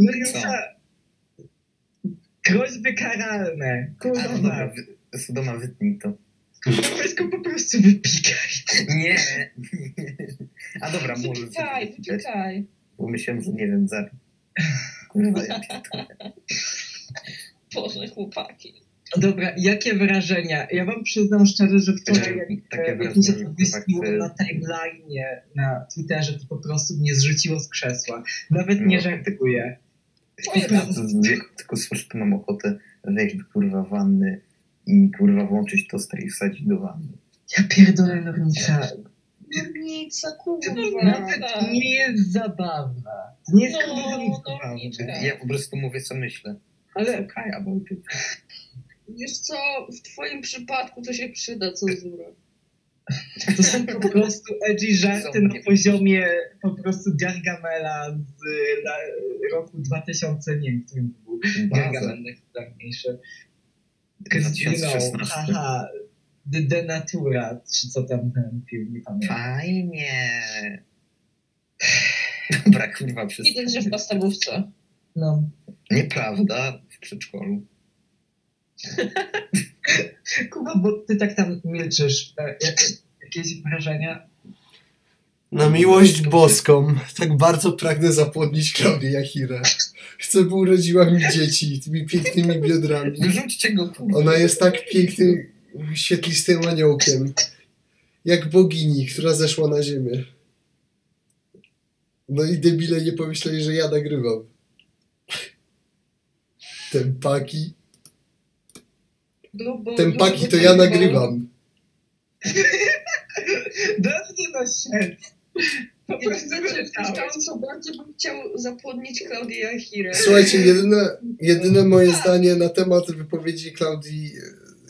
Speaker 3: Mariusza, groźby karalne.
Speaker 1: Sodoma,
Speaker 2: Tak.
Speaker 3: Kurwa,
Speaker 1: no wy- Sodoma, wytnij to.
Speaker 3: to wszystko po prostu wypikaj.
Speaker 1: Nie. A dobra, może
Speaker 4: Wypikaj,
Speaker 1: wypikać,
Speaker 4: wypikaj.
Speaker 1: bo myślałem, że nie wiem, za... Kurwa, ja pierdolę.
Speaker 4: Boże, chłopaki.
Speaker 3: Dobra, jakie wrażenia? Ja wam przyznam szczerze, że wczoraj jak
Speaker 1: Takie
Speaker 3: e, jakiś
Speaker 1: wrażenie, że tak,
Speaker 3: wysłuch
Speaker 1: e,
Speaker 3: na timeline na Twitterze to po prostu mnie zrzuciło z krzesła. Nawet nie
Speaker 1: No.
Speaker 3: żartuję.
Speaker 1: jak No, tylko słyszę, to mam ochotę wejść do kurwa wanny i kurwa włączyć toster i wsadzić do wanny.
Speaker 3: Ja pierdolę nornica.
Speaker 1: No,
Speaker 5: Piwnica,
Speaker 3: Nawet
Speaker 5: kurwa.
Speaker 3: nie
Speaker 1: tak.
Speaker 3: jest zabawna. Nie jest
Speaker 4: No,
Speaker 3: kurwa nic
Speaker 4: no,
Speaker 3: zabawne.
Speaker 4: nic.
Speaker 1: Ja po prostu mówię, co myślę.
Speaker 3: Ale
Speaker 1: Kaja, bo ty...
Speaker 5: no, Wiesz co, w twoim przypadku to się przyda cenzura.
Speaker 3: To są po prostu edgy żarty na poziomie po prostu Gargamela z e, la, roku 2000, nie wiem, który był.
Speaker 1: Baza.
Speaker 3: tak Gargamel najpopularniejszy. Zero,
Speaker 1: 2016.
Speaker 3: aha, de, denatura, czy co tam ten pił, nie
Speaker 2: Tak.
Speaker 3: pamiętam.
Speaker 1: Fajnie. Dobra, kurwa, przez...
Speaker 4: Widać, że w podstawówce.
Speaker 3: No,
Speaker 1: Nieprawda w przedszkolu.
Speaker 3: Kuba, bo ty tak tam milczysz. E, jak- Jakieś wrażenia?
Speaker 2: Na miłość boską, tak bardzo pragnę zapłodnić Klaudię Jachirę. Chcę, by urodziła mi dzieci tymi pięknymi biodrami.
Speaker 1: Wyrzućcie go, kurwa.
Speaker 2: Ona jest tak pięknym, świetlistym aniołkiem, jak bogini, która zeszła na ziemię. No i debile nie pomyśleli, że ja nagrywam. Tempaki.
Speaker 5: No, bo
Speaker 2: Tempaki
Speaker 5: dużo
Speaker 2: to ja
Speaker 5: tego-
Speaker 2: nagrywam.
Speaker 3: Dawnie na się. Po
Speaker 5: Ja
Speaker 3: prostu
Speaker 5: znaczy,
Speaker 3: czytałem.
Speaker 5: chciałam, co bardzo bym chciał zapłodnić Klaudię Jachirę.
Speaker 2: Słuchajcie, jedyne, jedyne moje zdanie na temat wypowiedzi Klaudii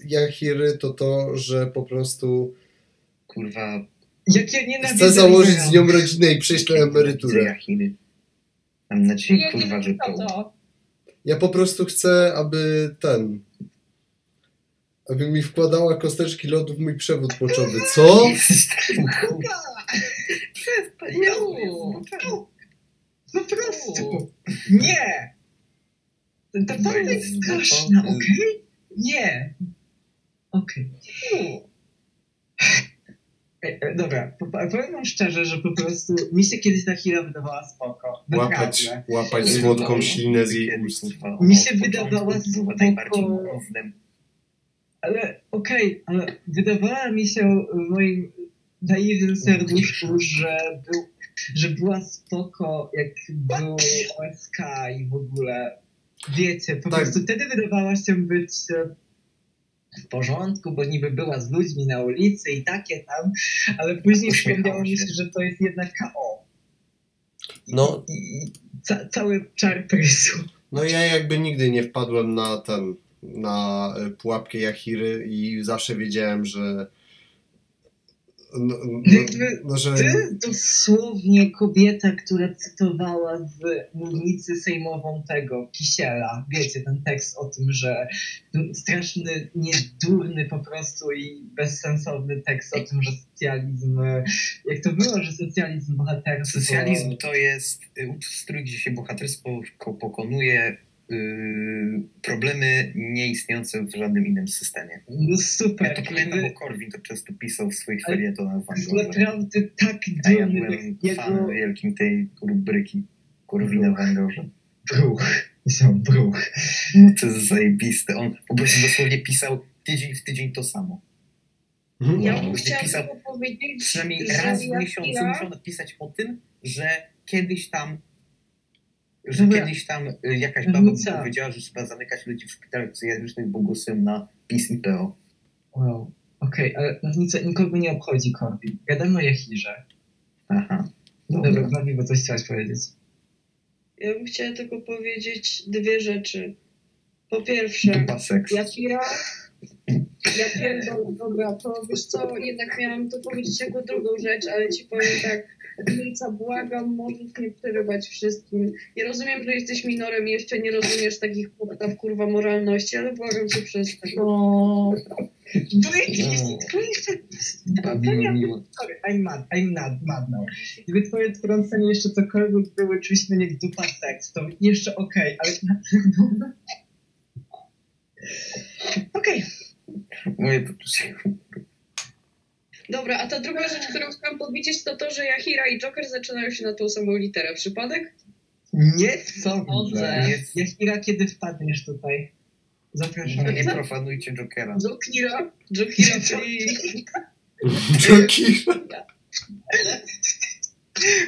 Speaker 2: Jachiry to to, że po prostu
Speaker 1: Kurwa,
Speaker 3: Jak ja nienawidzę
Speaker 2: chcę założyć z
Speaker 3: Lidera.
Speaker 2: nią rodzinę i przejść na emeryturę.
Speaker 1: Jachiny. Mam nadzieję,
Speaker 4: Nie, nie
Speaker 1: kurwa, że
Speaker 4: wiem,
Speaker 1: to...
Speaker 4: co to.
Speaker 2: Ja po prostu chcę, aby ten. Aby mi wkładała kosteczki lodu w mój przewód płciowy. Co?
Speaker 4: Uuu.
Speaker 3: Po prostu.
Speaker 4: Uuu.
Speaker 3: Nie! Ta
Speaker 1: No
Speaker 3: fajna
Speaker 1: i-
Speaker 3: jest straszna,
Speaker 1: no to-
Speaker 3: okej? Nie. Okej.
Speaker 4: Uuu.
Speaker 3: E, e, Dobra, po- powiem wam szczerze, że po prostu mi się kiedyś ta chwila wydawała spoko.
Speaker 2: Łapać,
Speaker 3: Naprawdę.
Speaker 2: łapać słodką ślinę z jej ust.
Speaker 1: Kurwa,
Speaker 3: Mi się
Speaker 1: od początku
Speaker 3: wydawała
Speaker 1: była
Speaker 3: spoko.
Speaker 1: najbardziej głównym.
Speaker 3: Ale okej, ale wydawała mi się w moim naiwnym serduszku, że, był, że była spoko, jak był OSK i w ogóle. Wiecie, po
Speaker 2: Tak.
Speaker 3: prostu wtedy wydawała się być e, w porządku, bo niby była z ludźmi na ulicy i takie tam, ale później
Speaker 1: Uśmiechała
Speaker 3: przypomniało mi się,
Speaker 1: się.
Speaker 3: że to jest jednak KO. I-
Speaker 2: No.
Speaker 3: I, i ca, cały czar prysu.
Speaker 2: No ja jakby nigdy nie wpadłem na ten, na y, pułapkę Jachiry i zawsze wiedziałem, że no, no, no, że
Speaker 3: Ty dosłownie kobieta, która cytowała z mównicy sejmową tego Kisiela. Wiecie, ten tekst o tym, że straszny, niedurny po prostu i bezsensowny tekst o tym, że socjalizm, e, jak to było, że socjalizm bohaterstwo.
Speaker 1: Socjalizm to jest y, ustrój, gdzie się bohaterstwo ko- pokonuje y, problemy nieistniejące w żadnym innym systemie.
Speaker 3: No
Speaker 1: Ja
Speaker 3: super.
Speaker 1: to pamiętam, bo Korwin to często pisał w swoich
Speaker 3: Ale- znaczy,
Speaker 1: felietonach w
Speaker 3: jest
Speaker 1: Angolze.
Speaker 3: naprawdę tak
Speaker 1: A ja
Speaker 3: durny
Speaker 1: byłem
Speaker 3: tekst, jego No.
Speaker 1: fanem wielkim tej rubryki Korwina w Angorze.
Speaker 3: bruch. Myślałem, bruch.
Speaker 1: No to jest zajebiste. On po prostu dosłownie pisał tydzień w tydzień to samo.
Speaker 2: Mhm.
Speaker 5: Ja bym
Speaker 1: Gdy
Speaker 5: chciała
Speaker 1: pisał
Speaker 5: tylko powiedzieć,
Speaker 1: przynajmniej
Speaker 5: że
Speaker 1: raz w
Speaker 5: Jachira-
Speaker 1: miesiącu muszą napisać o tym, że kiedyś tam że
Speaker 3: Dobra.
Speaker 1: kiedyś tam y, jakaś baba
Speaker 3: Różnica.
Speaker 1: powiedziała, że trzeba zamykać ludzi w szpitalach psychiatrycznych, bo głosują na PiS i PO.
Speaker 3: Wow. Okej, ale nic, nikogo nie obchodzi Korwin. Gadamy o Jachirze.
Speaker 1: Aha.
Speaker 3: Dobra,
Speaker 1: Dobra.
Speaker 3: Babi, bo coś chciałaś powiedzieć.
Speaker 5: Ja bym chciała tylko powiedzieć dwie rzeczy. Po pierwsze,
Speaker 1: Dupa seks.
Speaker 5: Jachira... Ja pierdolę, dobra, to wiesz co, jednak miałam to powiedzieć jako drugą rzecz, ale ci powiem tak, Milica, błagam, możesz nie przerywać wszystkim. Ja rozumiem, że jesteś minorem i jeszcze nie rozumiesz takich podstaw, kurwa, moralności, ale błagam cię przestań.
Speaker 4: No.
Speaker 1: No. Babi
Speaker 3: To nie-
Speaker 1: miło.
Speaker 3: Sorry, I'm mad, I'm mad, mad now. Gdyby twoje trącenie jeszcze cokolwiek były czymś na jak dupa seks, to jeszcze okej, ale naprawdę... Okej,
Speaker 1: Moje poczucie.
Speaker 5: Dobra, a ta druga rzecz, którą chciałam powiedzieć, to to, że Jachira i Joker zaczynają się na tą samą literę. Przypadek?
Speaker 3: nie sądzę.
Speaker 4: Sądzę.
Speaker 3: Jachira, kiedy wpadniesz tutaj? Zapraszam.
Speaker 1: Nie profanujcie Jokera.
Speaker 5: Jokira. Jokira, czyli...
Speaker 2: Joki.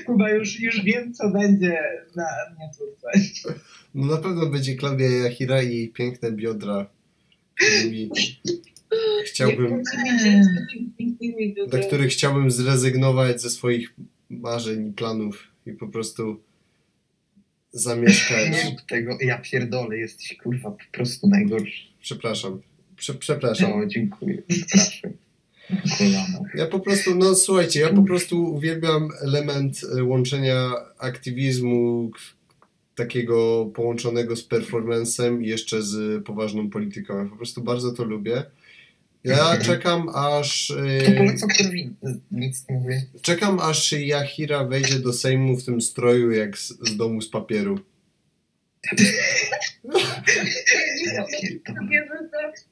Speaker 3: Kuba, już, już wiem, co będzie na miniaturce.
Speaker 2: No na pewno będzie Klaudia Jachira i jej piękne biodra, którymi chciałbym, do których Tak, chciałbym zrezygnować ze swoich marzeń i planów i po prostu zamieszkać.
Speaker 1: Nie rób tego. Ja pierdolę, jesteś kurwa po prostu najgorszy.
Speaker 2: Przepraszam. Prze, przepraszam.
Speaker 1: O, dziękuję. Przepraszam. Kolano.
Speaker 2: Ja po prostu, no słuchajcie, ja po prostu uwielbiam element e, łączenia aktywizmu, k- takiego połączonego z performancem i jeszcze z poważną polityką. Ja po prostu bardzo to lubię. Ja
Speaker 1: Mhm.
Speaker 2: czekam aż.
Speaker 1: To
Speaker 2: y,
Speaker 1: polecam Korwin. Nic nie mówię.
Speaker 2: Czekam aż Yahira wejdzie do Sejmu w tym stroju jak z, z domu z papieru. Tak.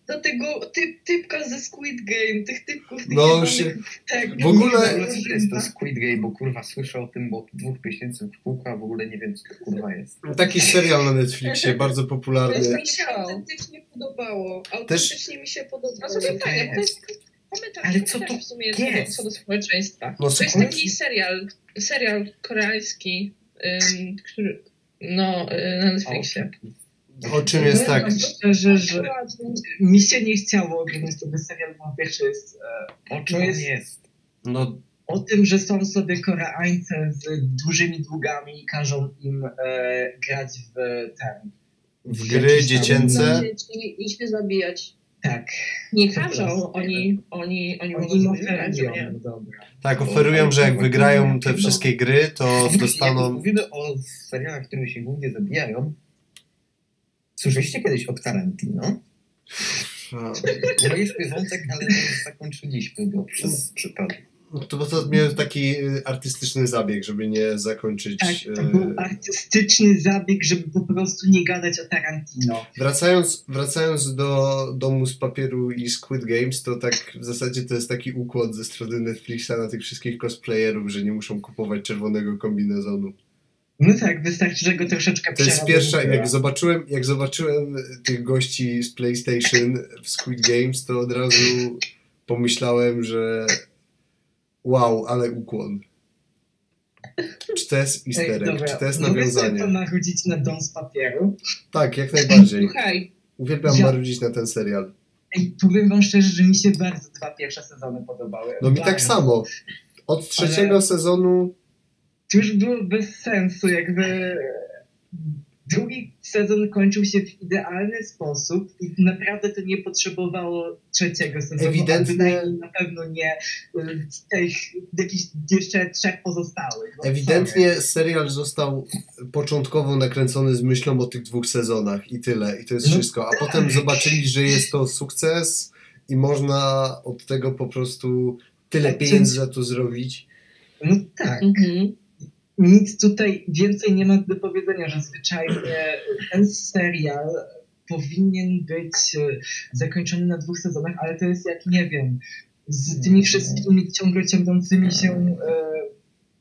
Speaker 5: Do tego typ, typka ze Squid Game, tych typków, tych
Speaker 2: No,
Speaker 5: jebanych
Speaker 2: się-
Speaker 5: tak,
Speaker 2: w ogóle-
Speaker 1: To jest to Squid Game, bo kurwa słyszę o tym od dwóch miesięcy w kółko, a w ogóle nie wiem, co to kurwa jest.
Speaker 2: Taki serial na Netflixie, bardzo
Speaker 5: To
Speaker 2: popularny. No,
Speaker 5: mi się autentycznie podobało. Autentycznie mi się
Speaker 4: No
Speaker 5: podobało.
Speaker 4: to pytanie, to jest komentarz
Speaker 1: Ale co to
Speaker 4: w sumie jest
Speaker 1: jest?
Speaker 4: co do- co do społeczeństwa.
Speaker 2: No,
Speaker 4: To jest
Speaker 2: słuchaj-
Speaker 4: taki serial, serial koreański, ym, który, no, y, na Netflixie.
Speaker 2: O czym jest tak?
Speaker 3: Powiem Szczerze, że mi się nie chciało oglądać tego serialu, bo pierwsze jest e,
Speaker 1: O czym
Speaker 3: To
Speaker 1: on
Speaker 3: jest-
Speaker 1: jest?
Speaker 2: No,
Speaker 3: o tym, że są sobie Koreańce z dużymi długami i każą im e, grać w ten.
Speaker 2: w gry dziecięce.
Speaker 5: dzieci i się zabijać.
Speaker 3: Tak.
Speaker 4: Nie
Speaker 3: Po
Speaker 4: każą,
Speaker 3: prostu.
Speaker 4: oni, oni, oni mogą
Speaker 3: Oni
Speaker 4: sobie wybrać,
Speaker 3: oferują,
Speaker 4: nie?
Speaker 3: no dobra.
Speaker 2: Tak, oferują, że jak wygrają te wszystkie gry, to
Speaker 1: Jak
Speaker 2: dostaną.
Speaker 1: mówimy o serialach, które się głównie zabijają. Słyszeliście kiedyś o Tarantino? No jest wątek, ale nie zakończyliśmy go przez przypadek.
Speaker 2: no To, bo to miał taki y, artystyczny zabieg, żeby nie zakończyć.
Speaker 3: Tak, to
Speaker 2: y,
Speaker 3: był artystyczny zabieg, żeby po prostu nie gadać o Tarantino.
Speaker 2: Wracając, wracając do domu z papieru i Squid Games, to tak w zasadzie to jest taki układ ze strony Netflixa na tych wszystkich cosplayerów, że nie muszą kupować czerwonego kombinezonu.
Speaker 3: No tak, wystarczy, że go troszeczkę
Speaker 2: To jest
Speaker 3: przerobię.
Speaker 2: pierwsza, jak zobaczyłem, jak zobaczyłem tych gości z PlayStation w Squid Games, to od razu pomyślałem, że wow, ale ukłon. Czy to jest
Speaker 3: Ej,
Speaker 2: easter egg,
Speaker 3: dobra,
Speaker 2: czy to jest
Speaker 3: mogę sobie to
Speaker 2: nawiązanie?
Speaker 3: narudzić na dom z papieru.
Speaker 2: Tak, jak najbardziej.
Speaker 4: Słuchaj,
Speaker 2: Uwielbiam
Speaker 3: Ja-
Speaker 2: marudzić na ten serial.
Speaker 3: Ej, powiem wam szczerze, że mi się bardzo dwa pierwsze sezony podobały.
Speaker 2: No mi
Speaker 3: Bardzo.
Speaker 2: tak samo. Od trzeciego sezonu
Speaker 3: To już było bez sensu, jakby drugi sezon kończył się w idealny sposób i naprawdę to nie potrzebowało trzeciego sezonu. a
Speaker 2: Ewidentnie-
Speaker 3: bynajmniej Na pewno nie y, z tych jakichś jeszcze trzech pozostałych. No,
Speaker 2: ewidentnie serial został początkowo nakręcony z myślą o tych dwóch sezonach i tyle, i to jest
Speaker 3: No
Speaker 2: wszystko. A potem zobaczyli, że jest to sukces i można od tego po prostu tyle
Speaker 3: Tak,
Speaker 2: pieniędzy za to zrobić.
Speaker 3: sorry. No tak.
Speaker 4: mhm.
Speaker 3: nic tutaj więcej nie ma do powiedzenia, że zwyczajnie ten serial powinien być e, zakończony na dwóch sezonach, ale to jest jak nie wiem, z tymi wszystkimi ciągle
Speaker 4: Tak.
Speaker 3: ciągnącymi się e,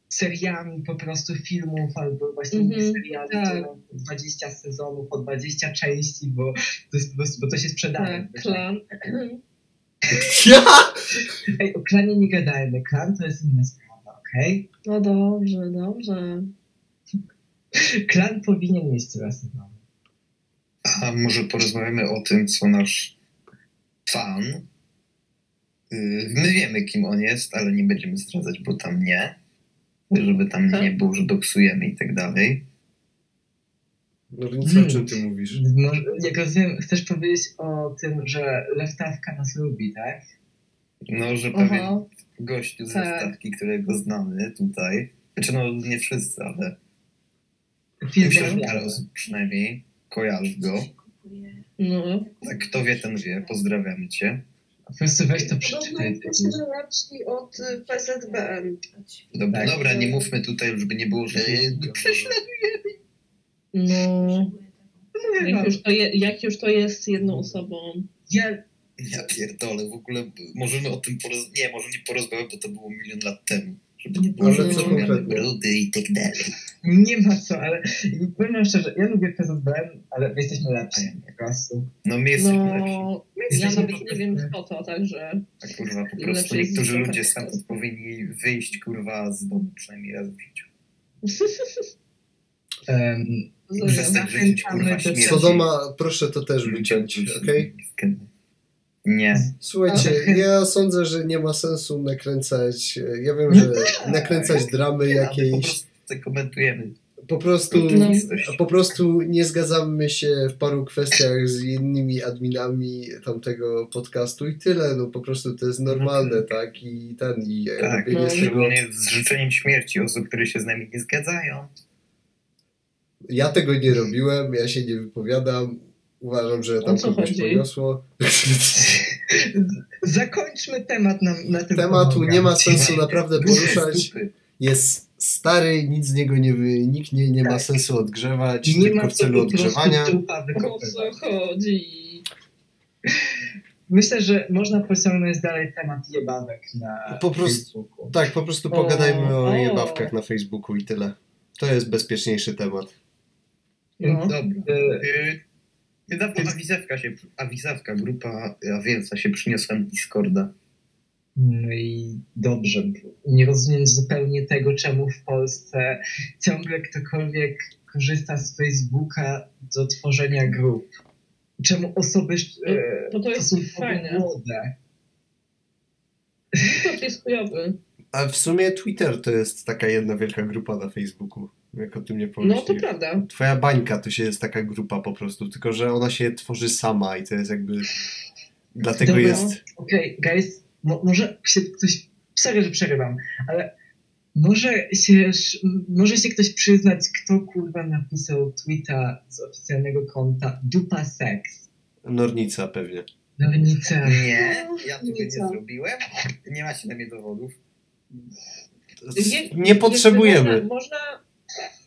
Speaker 3: seriami po prostu filmów albo właśnie
Speaker 4: Mhm,
Speaker 3: seriali,
Speaker 4: tak.
Speaker 3: które mają po 20 sezonów, po 20 części, bo to, jest po prostu, bo to się sprzedaje.
Speaker 4: tak, klan.
Speaker 2: Ja!
Speaker 3: Ej, o klanie nie gadajmy, klan to jest inna sprawa, okej?
Speaker 4: No dobrze, dobrze.
Speaker 3: Klan powinien mieć tyle sezonów.
Speaker 1: A może porozmawiamy o tym, co nasz fan. Yy, My wiemy, kim on jest, ale nie będziemy zdradzać, bo tam nie. Żeby tam
Speaker 4: Tak.
Speaker 1: nie było, że doksujemy i tak dalej.
Speaker 2: No więc o
Speaker 3: Mm.
Speaker 2: czym ty mówisz?
Speaker 3: No, jak rozumiem, chcesz powiedzieć o tym, że leftawka nas lubi, tak?
Speaker 1: No, że pewien
Speaker 4: Aha.
Speaker 1: gościu z
Speaker 4: Mhm. Tak.
Speaker 1: wystawki, którego znamy tutaj. Znaczy, no nie wszyscy, ale
Speaker 3: Film
Speaker 1: myślę, że
Speaker 3: zrobiony.
Speaker 2: tak.
Speaker 1: parę osób przynajmniej kojarzy go.
Speaker 4: No.
Speaker 1: Tak, kto wie, ten wie. Pozdrawiamy cię.
Speaker 3: Po prostu weź to
Speaker 5: Podobno
Speaker 3: przeczytaj.
Speaker 5: jesteśmy lepsi od y, PZBN.
Speaker 1: Dobra,
Speaker 3: Tak.
Speaker 1: dobra nie mówmy tutaj, żeby nie było, że prześledzimy.
Speaker 4: No. Jak już, to je, jak już to jest jedną osobą.
Speaker 3: Ja,
Speaker 1: Ja pierdolę, w ogóle możemy o tym porozmawiać. Nie, może nie porozmawiać, bo to było milion lat temu. Żeby nie było,
Speaker 2: Ale
Speaker 1: że
Speaker 4: co
Speaker 1: zrobiamy
Speaker 2: konkretnie?
Speaker 1: brudy i tak dalej.
Speaker 3: nie ma co, ale powiem wam szczerze, ja lubię PZBN, ale my jesteśmy lepsi po prostu.
Speaker 1: No my jesteśmy lepsi.
Speaker 4: No, ja
Speaker 3: jesteśmy
Speaker 4: nawet nie wiem kto to, także...
Speaker 1: A kurwa, po
Speaker 4: Lepsi
Speaker 1: prostu niektórzy
Speaker 4: jesteśmy.
Speaker 1: ludzie sami powinni wyjść, kurwa, z domu przynajmniej raz w życiu.
Speaker 3: Um,
Speaker 1: Przestać żyć, kurwa,
Speaker 3: Zachęcamy do
Speaker 1: śmierci.
Speaker 2: Sodoma, proszę to też wyciąć, okej?
Speaker 1: Nie.
Speaker 2: Słuchajcie,
Speaker 3: Ale-
Speaker 2: ja sądzę, że nie ma sensu nakręcać, e, ja wiem, że nakręcać dramy
Speaker 1: Ale Po
Speaker 2: jakiejś,
Speaker 1: prostu te komentujemy.
Speaker 2: po prostu
Speaker 4: No.
Speaker 1: Rzeczywistość.
Speaker 2: Po prostu nie zgadzamy się w paru kwestiach z innymi adminami tamtego podcastu i tyle. No po prostu to jest
Speaker 3: Mhm.
Speaker 2: normalne, tak? I ten i
Speaker 1: Tak,
Speaker 3: no.
Speaker 2: robienie z tego.
Speaker 1: szczególnie z życzeniem śmierci osób, które się z nami nie zgadzają.
Speaker 2: Ja tego nie
Speaker 3: Mhm.
Speaker 2: robiłem, ja się nie wypowiadam. Uważam, że
Speaker 4: O
Speaker 2: tam
Speaker 4: co
Speaker 2: kogoś
Speaker 4: chodzi?
Speaker 2: poniosło.
Speaker 3: Zakończmy temat na, na tym
Speaker 2: Tematu
Speaker 3: pomagam.
Speaker 2: nie ma sensu naprawdę poruszać.
Speaker 1: Dupy.
Speaker 2: Jest stary, nic z niego nie wyniknie, nie ma
Speaker 3: Tak.
Speaker 2: sensu odgrzewać,
Speaker 3: Nie ma
Speaker 2: tylko w
Speaker 3: co
Speaker 2: celu
Speaker 3: po prostu
Speaker 2: odgrzewania.
Speaker 3: trupa
Speaker 4: O
Speaker 3: wykopywać.
Speaker 4: co chodzi?
Speaker 3: Myślę, że można pociągnąć dalej temat jebawek na
Speaker 2: Po prostu-
Speaker 3: Facebooku.
Speaker 2: Tak, po prostu
Speaker 4: O,
Speaker 2: pogadajmy o
Speaker 4: o.
Speaker 2: jebawkach na Facebooku i tyle. To jest bezpieczniejszy temat.
Speaker 4: No.
Speaker 1: Dobra.
Speaker 3: Y,
Speaker 1: Y, Niedawno awizewka się, awizewka, grupa Awielca się przyniosła na Discorda.
Speaker 3: No i dobrze. Nie rozumiem zupełnie tego, czemu w Polsce ciągle ktokolwiek korzysta z Facebooka do tworzenia grup. Czemu osoby e,
Speaker 4: Bo to jest
Speaker 3: stosunkowo
Speaker 4: fajne.
Speaker 3: młode.
Speaker 4: Discord jest chujowy.
Speaker 2: A w sumie Twitter to jest taka jedna wielka grupa na Facebooku, jak o tym nie
Speaker 4: No to
Speaker 2: pomyślisz.
Speaker 4: prawda.
Speaker 2: Twoja bańka to się jest taka grupa po prostu, tylko że ona się tworzy sama i to jest jakby... Dlatego
Speaker 3: Dobra.
Speaker 2: jest...
Speaker 3: Okej, guys, mo- może się ktoś... Sorry, że przerywam, ale może się, sz- może się ktoś przyznać, kto kurwa napisał tweeta z oficjalnego konta dupa seks.
Speaker 2: Nornica pewnie.
Speaker 3: Nornica.
Speaker 1: Nie, ja tego nie
Speaker 5: Nic.
Speaker 1: zrobiłem. Nie macie na mnie dowodów.
Speaker 4: Je-
Speaker 2: Nie potrzebujemy.
Speaker 4: Jeszcze Można,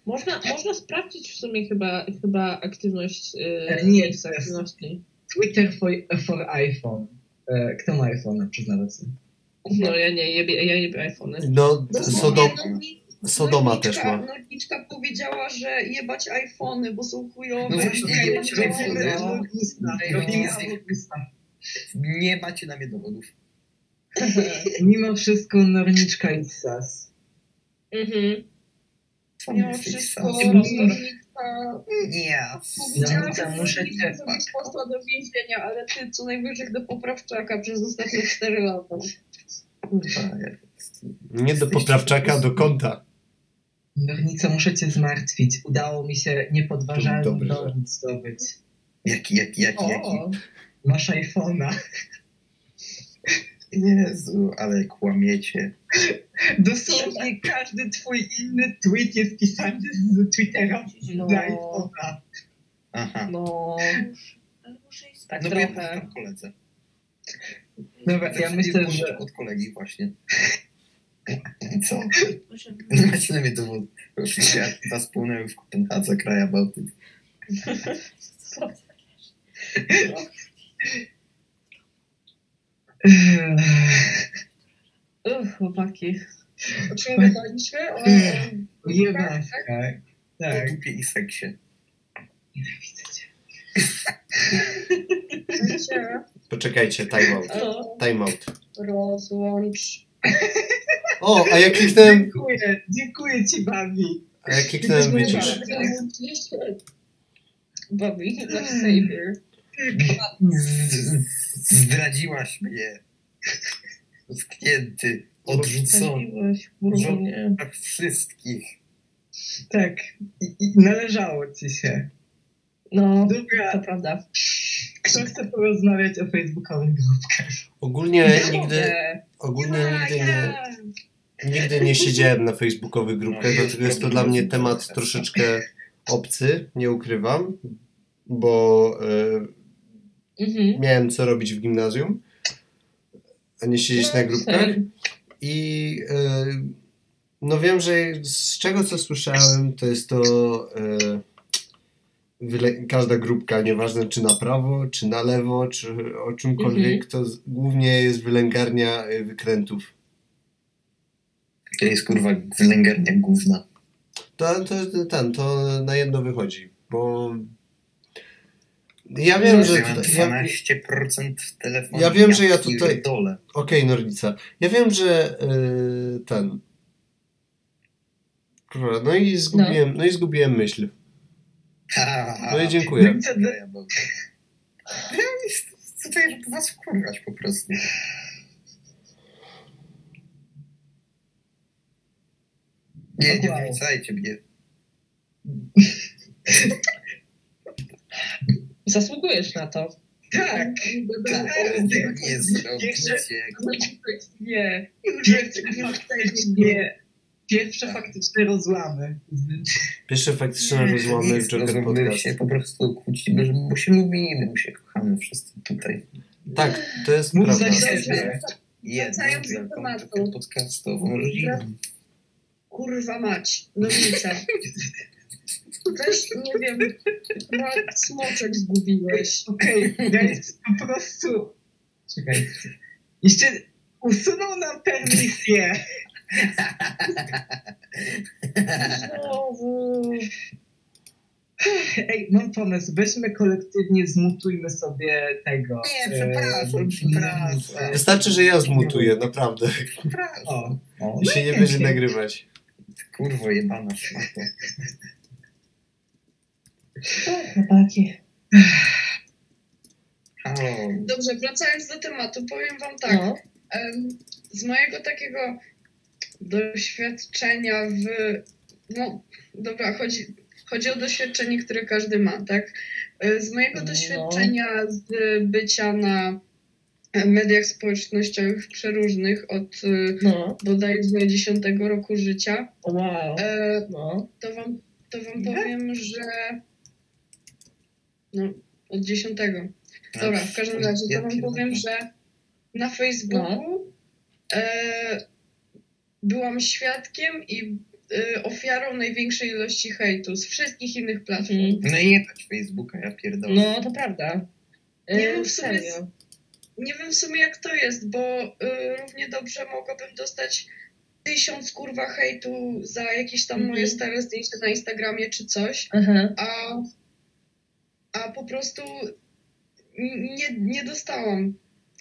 Speaker 4: można, można, można sprawdzić w sumie chyba, chyba aktywność yy,
Speaker 3: Nie,
Speaker 4: miejsca
Speaker 3: jest.
Speaker 4: aktywności.
Speaker 3: Twitter for, for iPhone. E, Kto ma iPhone'a przez nawet?
Speaker 4: No ja nie, jebie, ja jebię iPhony.
Speaker 2: No, Sodom,
Speaker 5: Dosłownie
Speaker 4: no
Speaker 2: Sodoma
Speaker 5: Norwiczka-
Speaker 2: też ma.
Speaker 5: Norwiczka no powiedziała, że jebać iPhony, bo są chujowe.
Speaker 1: No właśnie,
Speaker 5: Ja
Speaker 1: jebać
Speaker 5: nie
Speaker 1: iPhony.
Speaker 5: mogę.
Speaker 1: no.
Speaker 3: Ognista. Ognista.
Speaker 1: Nie macie na mnie dowodów.
Speaker 3: Mimo wszystko Norniczka i Sas.
Speaker 4: Mhm.
Speaker 1: Co
Speaker 5: Mimo
Speaker 1: mówisz,
Speaker 5: wszystko
Speaker 1: Sas?
Speaker 5: Norwiczka
Speaker 1: Nie.
Speaker 5: powiedziała,
Speaker 3: No,
Speaker 5: że
Speaker 3: to muszę
Speaker 5: muszę
Speaker 3: cię
Speaker 5: zrobić posła do więzienia, ale ty co najwyżej do poprawczaka przez ostatnie 4 lata.
Speaker 1: kurwa, jak-
Speaker 2: Nie do poprawczaka, do konta.
Speaker 3: Nornica, muszę cię zmartwić. Udało mi się
Speaker 2: To był
Speaker 3: niepodważalny
Speaker 2: dobry
Speaker 3: dowód zdobyć.
Speaker 1: Jaki, jaki, jaki, jaki.
Speaker 4: O,
Speaker 3: Masz iPhone'a.
Speaker 1: Jezu, ale kłamiecie.
Speaker 3: Dosłownie każdy twój inny tweet jest pisany z Twittera
Speaker 4: No.
Speaker 3: do iPhone'a.
Speaker 1: Aha.
Speaker 4: no,
Speaker 5: Ale muszę iść
Speaker 4: tak
Speaker 1: No bo ja
Speaker 4: trochę.
Speaker 1: mam koledze.
Speaker 3: Dobra, ja
Speaker 1: Zaczynam
Speaker 3: myślę,
Speaker 1: pożyczyć
Speaker 3: że...
Speaker 1: Od kolegi właśnie. Co?
Speaker 5: spać.
Speaker 1: Nie macie na mnie dowodu. Ja was płynęły w Kopenhadze, kraja Bałtyk.
Speaker 4: Uch, chłopaki.
Speaker 5: Rozmawialiśmy o... o-
Speaker 3: Jebać, tak?
Speaker 1: O
Speaker 3: Tak.
Speaker 1: dupie i seksie.
Speaker 3: Nienawidzę cię.
Speaker 5: się
Speaker 2: Poczekajcie, timeout.
Speaker 4: No.
Speaker 2: Timeout.
Speaker 5: e, Rozłącz.
Speaker 2: O, a ja kliknąłem...
Speaker 3: Dziękuję, dziękuję ci, Babi.
Speaker 2: A ja kliknąłem widzisz.
Speaker 5: Tak,
Speaker 4: Bobby, nasz savior.
Speaker 1: Z- Zdradziłaś mnie. Utknięty, odrzucony
Speaker 4: Zabiłeś, kurwa, mnie.
Speaker 1: tak wszystkich.
Speaker 3: Tak, i, i należało ci się.
Speaker 4: No, to
Speaker 3: Dobra,
Speaker 4: prawda.
Speaker 3: kto chce porozmawiać o facebookowych grupkach?
Speaker 2: Ogólnie
Speaker 4: Ja
Speaker 2: nigdy,
Speaker 4: mogę.
Speaker 2: ogólnie nigdy nie, nigdy nie siedziałem na facebookowych grupkach, dlatego No, jest to dla mnie temat troszeczkę obcy, nie ukrywam, bo
Speaker 4: Mhm.
Speaker 2: e, miałem co robić w gimnazjum, a nie siedzieć na grupkach.
Speaker 4: Same.
Speaker 2: I e, no wiem, że z czego co słyszałem, to jest to e, wyle- każda grupka, nieważne czy na prawo, czy na lewo, czy o czymkolwiek, to z, głównie jest wylęgarnia e, wykrętów.
Speaker 1: To jest kurwa wylęgarnia główna.
Speaker 2: To, to ten, to na jedno wychodzi, bo ja wiem, że
Speaker 1: ja mam
Speaker 2: tutaj, ja,
Speaker 1: 12% w telefonie.
Speaker 2: Ja wiem, że ja tutaj-
Speaker 1: Dole.
Speaker 2: Okej, Nornica. Ja wiem, że y, ten. Kurwa, no i zgubiłem, no. i zgubiłem myśl. No i dziękuję.
Speaker 1: Ja mam- Ja jest tutaj, żeby was wkurwać po prostu. Nie, nie wrzucajcie mnie.
Speaker 4: Zasługujesz na to.
Speaker 3: Tak,
Speaker 1: Tak, tego nie zrobicie.
Speaker 4: Nie.
Speaker 3: pierwszy faktycznie Pierwsze faktyczne rozłamy.
Speaker 2: Pierwsze faktyczne rozłamy w Joker
Speaker 1: My
Speaker 2: Podcast.
Speaker 1: się po prostu kłócimy, że- bo się lubimy, bo się kochamy wszyscy tutaj.
Speaker 2: Tak, to jest
Speaker 3: Mów
Speaker 2: prawda.
Speaker 3: za siebie.
Speaker 5: Dobrze,
Speaker 1: Jednym
Speaker 5: Wracając do
Speaker 1: wielką
Speaker 5: tematu.
Speaker 1: taką podcastową rodziną.
Speaker 5: kurwa mać, Dominica. Weź, nie wiem, na smoczek zgubiłeś.
Speaker 3: Okej, ja jest po prostu... Czekaj. Jeszcze usunął nam permisję.
Speaker 5: Znowu.
Speaker 3: Ej, mam pomysł. Weźmy kolektywnie, zmutujmy sobie tego.
Speaker 1: Nie,
Speaker 3: e,
Speaker 1: przepraszam, przepraszam.
Speaker 2: Wystarczy, że ja zmutuję, naprawdę.
Speaker 1: O, o,
Speaker 2: I się nie będzie nagrywać.
Speaker 1: kurwo jebana szmato.
Speaker 3: Chłopaki.
Speaker 1: Halo.
Speaker 5: Dobrze, wracając do tematu, powiem wam tak.
Speaker 4: No.
Speaker 5: Em, z mojego takiego doświadczenia w. No, dobra, chodzi, chodzi o doświadczenie, które każdy ma, tak? E, Z mojego
Speaker 4: No.
Speaker 5: doświadczenia z bycia na e, mediach społecznościowych przeróżnych od e,
Speaker 4: No.
Speaker 5: bodajże 10 roku życia,
Speaker 4: Wow.
Speaker 5: e,
Speaker 4: No.
Speaker 5: to wam, to wam
Speaker 3: Ile?
Speaker 5: powiem, że. No, od 10. Dobra, w każdym razie to wam powiem, że na
Speaker 4: No.
Speaker 5: Facebooku e, byłam świadkiem i e, ofiarą największej ilości hejtu z wszystkich innych platform.
Speaker 4: Mhm.
Speaker 1: No i jebać Facebooka, ja pierdolę.
Speaker 4: No, to prawda. E,
Speaker 5: Nie, no w sumie
Speaker 4: serio.
Speaker 5: Nie wiem w sumie jak to jest, bo e, równie dobrze mogłabym dostać tysiąc kurwa hejtu za jakieś tam
Speaker 4: Mhm.
Speaker 5: moje stare zdjęcia na Instagramie czy coś,
Speaker 4: Aha.
Speaker 5: a, a po prostu n- nie, nie dostałam.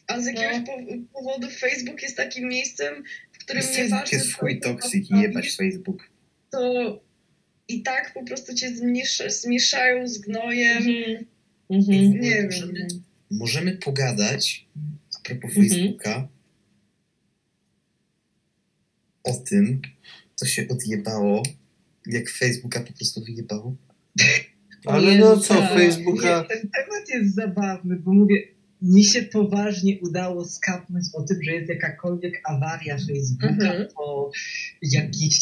Speaker 5: A z jakiegoś
Speaker 4: No.
Speaker 5: po- powodu Facebook jest takim miejscem, w którym nie
Speaker 1: Facebook
Speaker 5: ważne...
Speaker 1: jest swój
Speaker 5: co
Speaker 1: toksyk i
Speaker 5: robisz,
Speaker 1: jebać Facebook.
Speaker 5: to i tak po prostu cię zmniejsz- zmieszają z gnojem.
Speaker 4: Mhm. Mhm.
Speaker 5: Nie wiem.
Speaker 1: Możemy, możemy pogadać a propos
Speaker 4: Mhm.
Speaker 1: Facebooka o tym, co się odjebało, jak Facebooka po prostu wyjebało.
Speaker 2: Ale no
Speaker 4: Jezu,
Speaker 2: co,
Speaker 4: tak.
Speaker 2: Facebooka...
Speaker 3: Nie, ten temat jest zabawny, bo mówię, mi się poważnie udało skapnąć o tym, że jest jakakolwiek awaria Facebooka
Speaker 4: Mhm.
Speaker 3: po jakichś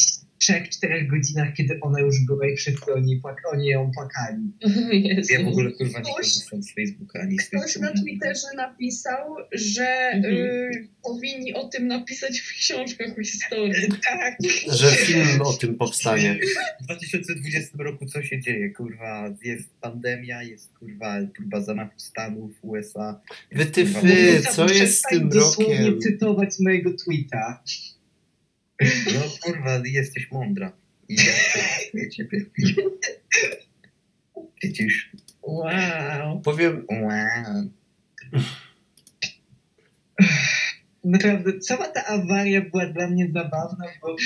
Speaker 3: 3-4 godzinach, kiedy ona już była i wszyscy oni, płak- oni ją płakali.
Speaker 4: Jezu.
Speaker 1: Ja w ogóle kurwa nie
Speaker 5: Ktoś-
Speaker 1: korzystam z Facebooka ani z
Speaker 5: Ktoś na
Speaker 1: Facebooka.
Speaker 5: Twitterze napisał, że
Speaker 4: Mhm.
Speaker 5: y, powinni o tym napisać w książkach o historii.
Speaker 3: Tak,
Speaker 2: Że film o tym powstanie.
Speaker 1: W 2020 roku co się dzieje? Kurwa, jest pandemia, jest kurwa próba zamachu stanu w USA.
Speaker 2: Wy ty
Speaker 1: Kurwa,
Speaker 2: fy,
Speaker 1: po
Speaker 2: co jest z tym rokiem?
Speaker 3: dosłownie cytować mojego tweeta.
Speaker 1: prostu- No kurwa, jesteś mądra. I ja szanuję ciebie. Widzisz?
Speaker 4: Wow.
Speaker 2: Powiem,
Speaker 1: Wow.
Speaker 3: Naprawdę, cała ta awaria była dla mnie zabawna, bo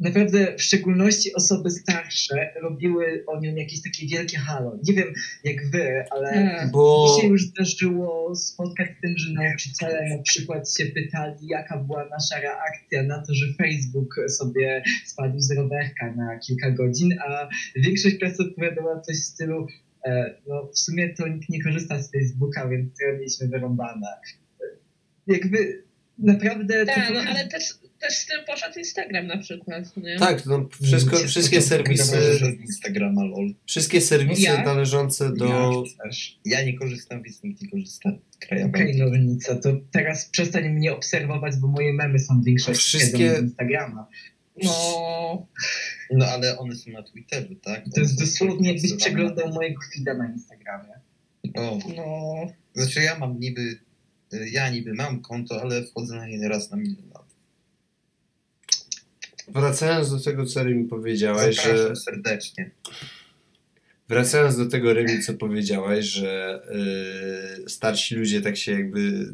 Speaker 3: naprawdę w szczególności osoby starsze robiły o nią jakieś takie wielkie halo. Nie wiem jak wy, ale...
Speaker 4: Tak.
Speaker 2: bo
Speaker 3: Mi się już zdarzyło spotkać z tym, że nauczyciele na przykład się pytali, jaka była nasza reakcja na to, że Facebook sobie spadł z rowerka na kilka godzin, a większość klas odpowiadała coś w stylu e, no w sumie to nikt nie korzysta z Facebooka, więc trochę mieliśmy wyrąbane. E, Jakby naprawdę... to
Speaker 4: Tak, no
Speaker 3: pokazuje-
Speaker 4: ale też, też z tym poszedł Instagram na przykład, nie?
Speaker 2: tak, no, wszystko, wszystkie serwisy,
Speaker 1: z Instagrama, lol.
Speaker 2: wszystkie serwisy
Speaker 4: Ja?
Speaker 2: należące do...
Speaker 1: Ja nie korzystam, więc nikt nie korzysta. Krajowa.
Speaker 3: Okej, okay, Nornica, to teraz przestań mnie obserwować, bo moje memy są większość
Speaker 2: Wszystkie-
Speaker 3: z Instagrama.
Speaker 4: No.
Speaker 1: No ale one są na Twitterze, tak?
Speaker 3: To
Speaker 1: One
Speaker 3: jest
Speaker 1: są
Speaker 3: dosłownie jakbyś
Speaker 1: zorganizowane.
Speaker 3: przeglądał mojego feeda na Instagramie.
Speaker 1: O,
Speaker 4: No.
Speaker 1: znaczy ja mam niby, y, ja niby mam konto, ale wchodzę na nie raz na milion lat.
Speaker 2: Wracając do tego, co mi powiedziałaś,
Speaker 1: Zapraszam
Speaker 2: że...
Speaker 1: serdecznie.
Speaker 2: Wracając do tego, Remi, co powiedziałaś, że y, starsi ludzie tak się jakby,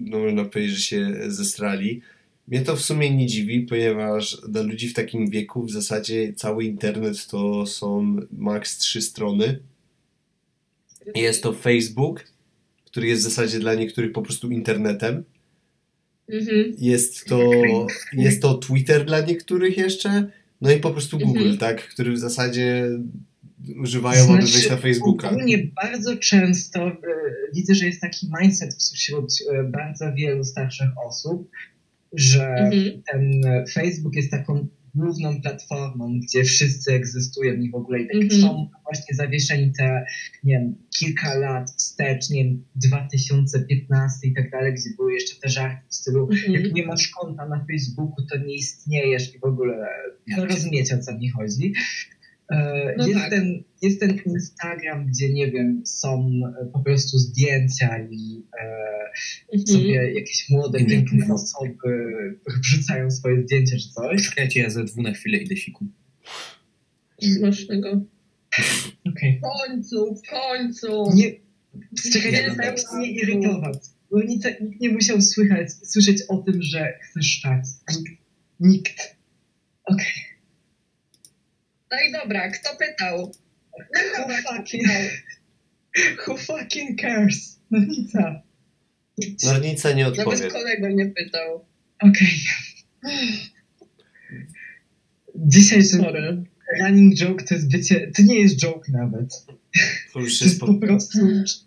Speaker 2: no można powiedzieć, że się zestrali. Mnie to w sumie nie dziwi, ponieważ dla ludzi w takim wieku w zasadzie cały internet to są max trzy strony. Jest to Facebook, który jest w zasadzie dla niektórych po prostu internetem.
Speaker 4: Mhm.
Speaker 2: Jest to, jest to Twitter dla niektórych jeszcze. No i po prostu Google,
Speaker 4: Mhm.
Speaker 2: tak, który w zasadzie używają, aby
Speaker 3: Znaczy,
Speaker 2: wejść na Facebooka.
Speaker 3: Ogólnie bardzo często e, widzę, że jest taki mindset wśród e, bardzo wielu starszych osób, że
Speaker 4: Mhm.
Speaker 3: ten e, Facebook jest taką główną platformą, gdzie wszyscy egzystują i w ogóle i tak
Speaker 4: Mhm.
Speaker 3: są właśnie zawieszeni te, nie wiem, kilka lat wstecz, nie wiem, 2015 i tak dalej, gdzie były jeszcze te żarty w stylu
Speaker 4: Mhm.
Speaker 3: jak nie masz konta na Facebooku, to nie istniejesz i w ogóle no, rozumiecie o co mi chodzi. E,
Speaker 4: No
Speaker 3: jest,
Speaker 4: tak.
Speaker 3: ten, jest ten Instagram, gdzie nie wiem, są e, po prostu zdjęcia i e,
Speaker 4: Mhm.
Speaker 3: sobie jakieś młode,
Speaker 1: Mhm.
Speaker 3: piękne osoby wrzucają swoje zdjęcia czy coś.
Speaker 1: Czekajcie, ja ze dwu na chwilę idę siku.
Speaker 4: Smacznego.
Speaker 3: Okej.
Speaker 5: W końcu, w końcu.
Speaker 3: Nie,
Speaker 1: Nie,
Speaker 4: no
Speaker 3: czekaj,
Speaker 1: dobra.
Speaker 3: nie
Speaker 4: tak.
Speaker 3: mnie irytować. Bo nic, nikt nie musiał słychać, słyszeć o tym, że chcesz szczać. Nikt. Nikt. Okej.
Speaker 5: No i dobra, kto pytał?
Speaker 3: Who, fucking, who fucking cares? No nic. a.
Speaker 2: Nornica nie odpowie.
Speaker 5: Nawet kolega nie pytał.
Speaker 3: Okej. Dzisiejszy
Speaker 4: Sorry.
Speaker 3: running joke to jest bycie, to nie jest joke nawet.
Speaker 2: To już
Speaker 3: To
Speaker 2: jest
Speaker 3: jest po
Speaker 2: po,
Speaker 3: prostu
Speaker 2: to już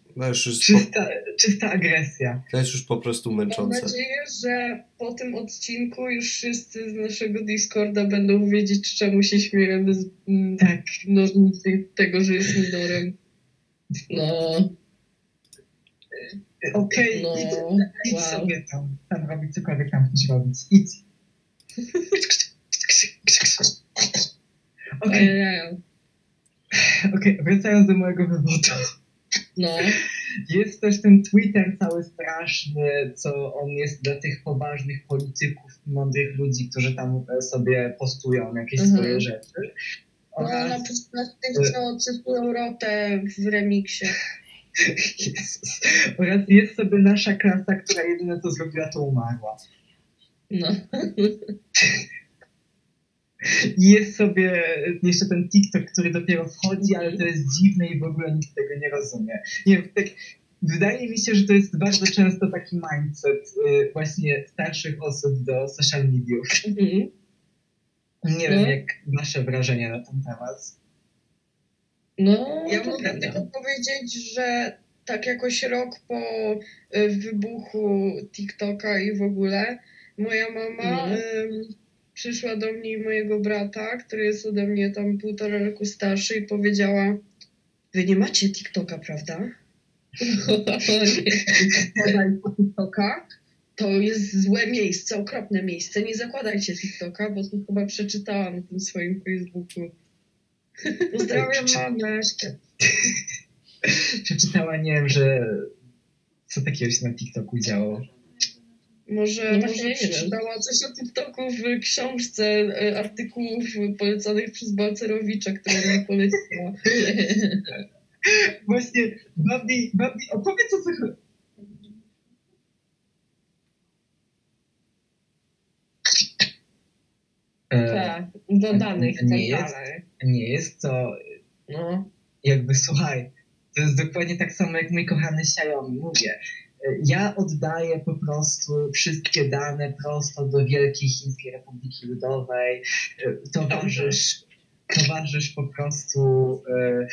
Speaker 2: jest po,
Speaker 3: czysta, czysta agresja.
Speaker 2: to jest już po prostu
Speaker 5: Mam
Speaker 2: męczące.
Speaker 5: nadzieję, że po tym odcinku już wszyscy z naszego Discorda będą wiedzieć, czemu się śmiejemy z mm,
Speaker 3: Tak.
Speaker 5: nożnicy tego, że jest Midorem.
Speaker 4: No,
Speaker 3: Okej,
Speaker 4: no,
Speaker 3: idź, idź
Speaker 4: wow.
Speaker 3: sobie tam, tam robić cokolwiek tam chcesz robić. Idź. Okej,
Speaker 4: Ojej.
Speaker 3: okej, wracając do mojego wywodu.
Speaker 4: No,
Speaker 3: Jest też ten Twitter cały straszny, co on jest dla tych poważnych polityków i mądrych ludzi, którzy tam e, sobie postują jakieś
Speaker 4: Mhm.
Speaker 3: swoje rzeczy.
Speaker 5: No, na
Speaker 3: Oraz...
Speaker 5: przykład tych, co cytują Rotę w remiksie.
Speaker 3: Jezus. Oraz jest sobie nasza klasa, która jedyne co zrobiła, to umarła.
Speaker 4: no.
Speaker 3: I jest sobie jeszcze ten TikTok, który dopiero wchodzi, ale to jest dziwne i w ogóle nikt tego nie rozumie. Nie wiem, tak, wydaje mi się, że to jest bardzo często taki mindset y, właśnie starszych osób do social mediów.
Speaker 4: Mhm.
Speaker 3: Nie
Speaker 4: No.
Speaker 3: wiem, jak wasze wrażenie na ten temat.
Speaker 4: No,
Speaker 5: Ja
Speaker 4: to
Speaker 5: mogę
Speaker 4: prawda.
Speaker 5: tylko powiedzieć, że tak jakoś rok po y, wybuchu TikToka i w ogóle moja mama
Speaker 4: Mhm.
Speaker 5: ym, przyszła do mnie i mojego brata, który jest ode mnie tam półtora roku starszy i powiedziała Wy nie macie TikToka, prawda?
Speaker 4: O nie. Tak.
Speaker 5: Podaj TikToka. To jest złe miejsce, okropne miejsce. Nie zakładajcie TikToka, bo to chyba przeczytałam na tym swoim Facebooku. Pozdrawiam mamę.
Speaker 3: Przeczytała, nie wiem, że co takiego się na TikToku działo.
Speaker 5: Może,
Speaker 4: No właśnie,
Speaker 5: może
Speaker 4: nie wiem.
Speaker 5: przeczytała coś o TikToku w książce e, artykułów polecanych przez Balcerowicza, którą mi poleciła.
Speaker 3: Właśnie, Babi, Babi, opowiedz o co chodzi. E,
Speaker 4: Tak, do danych, tak
Speaker 3: Nie jest.
Speaker 4: dalej.
Speaker 3: nie jest to
Speaker 4: No.
Speaker 3: jakby słuchaj, to jest dokładnie tak samo jak mój kochany Xiaomi. Mówię, e, ja oddaję po prostu wszystkie dane prosto do Wielkiej Chińskiej Republiki Ludowej. E, Towarzysz, towarzysz po prostu... e,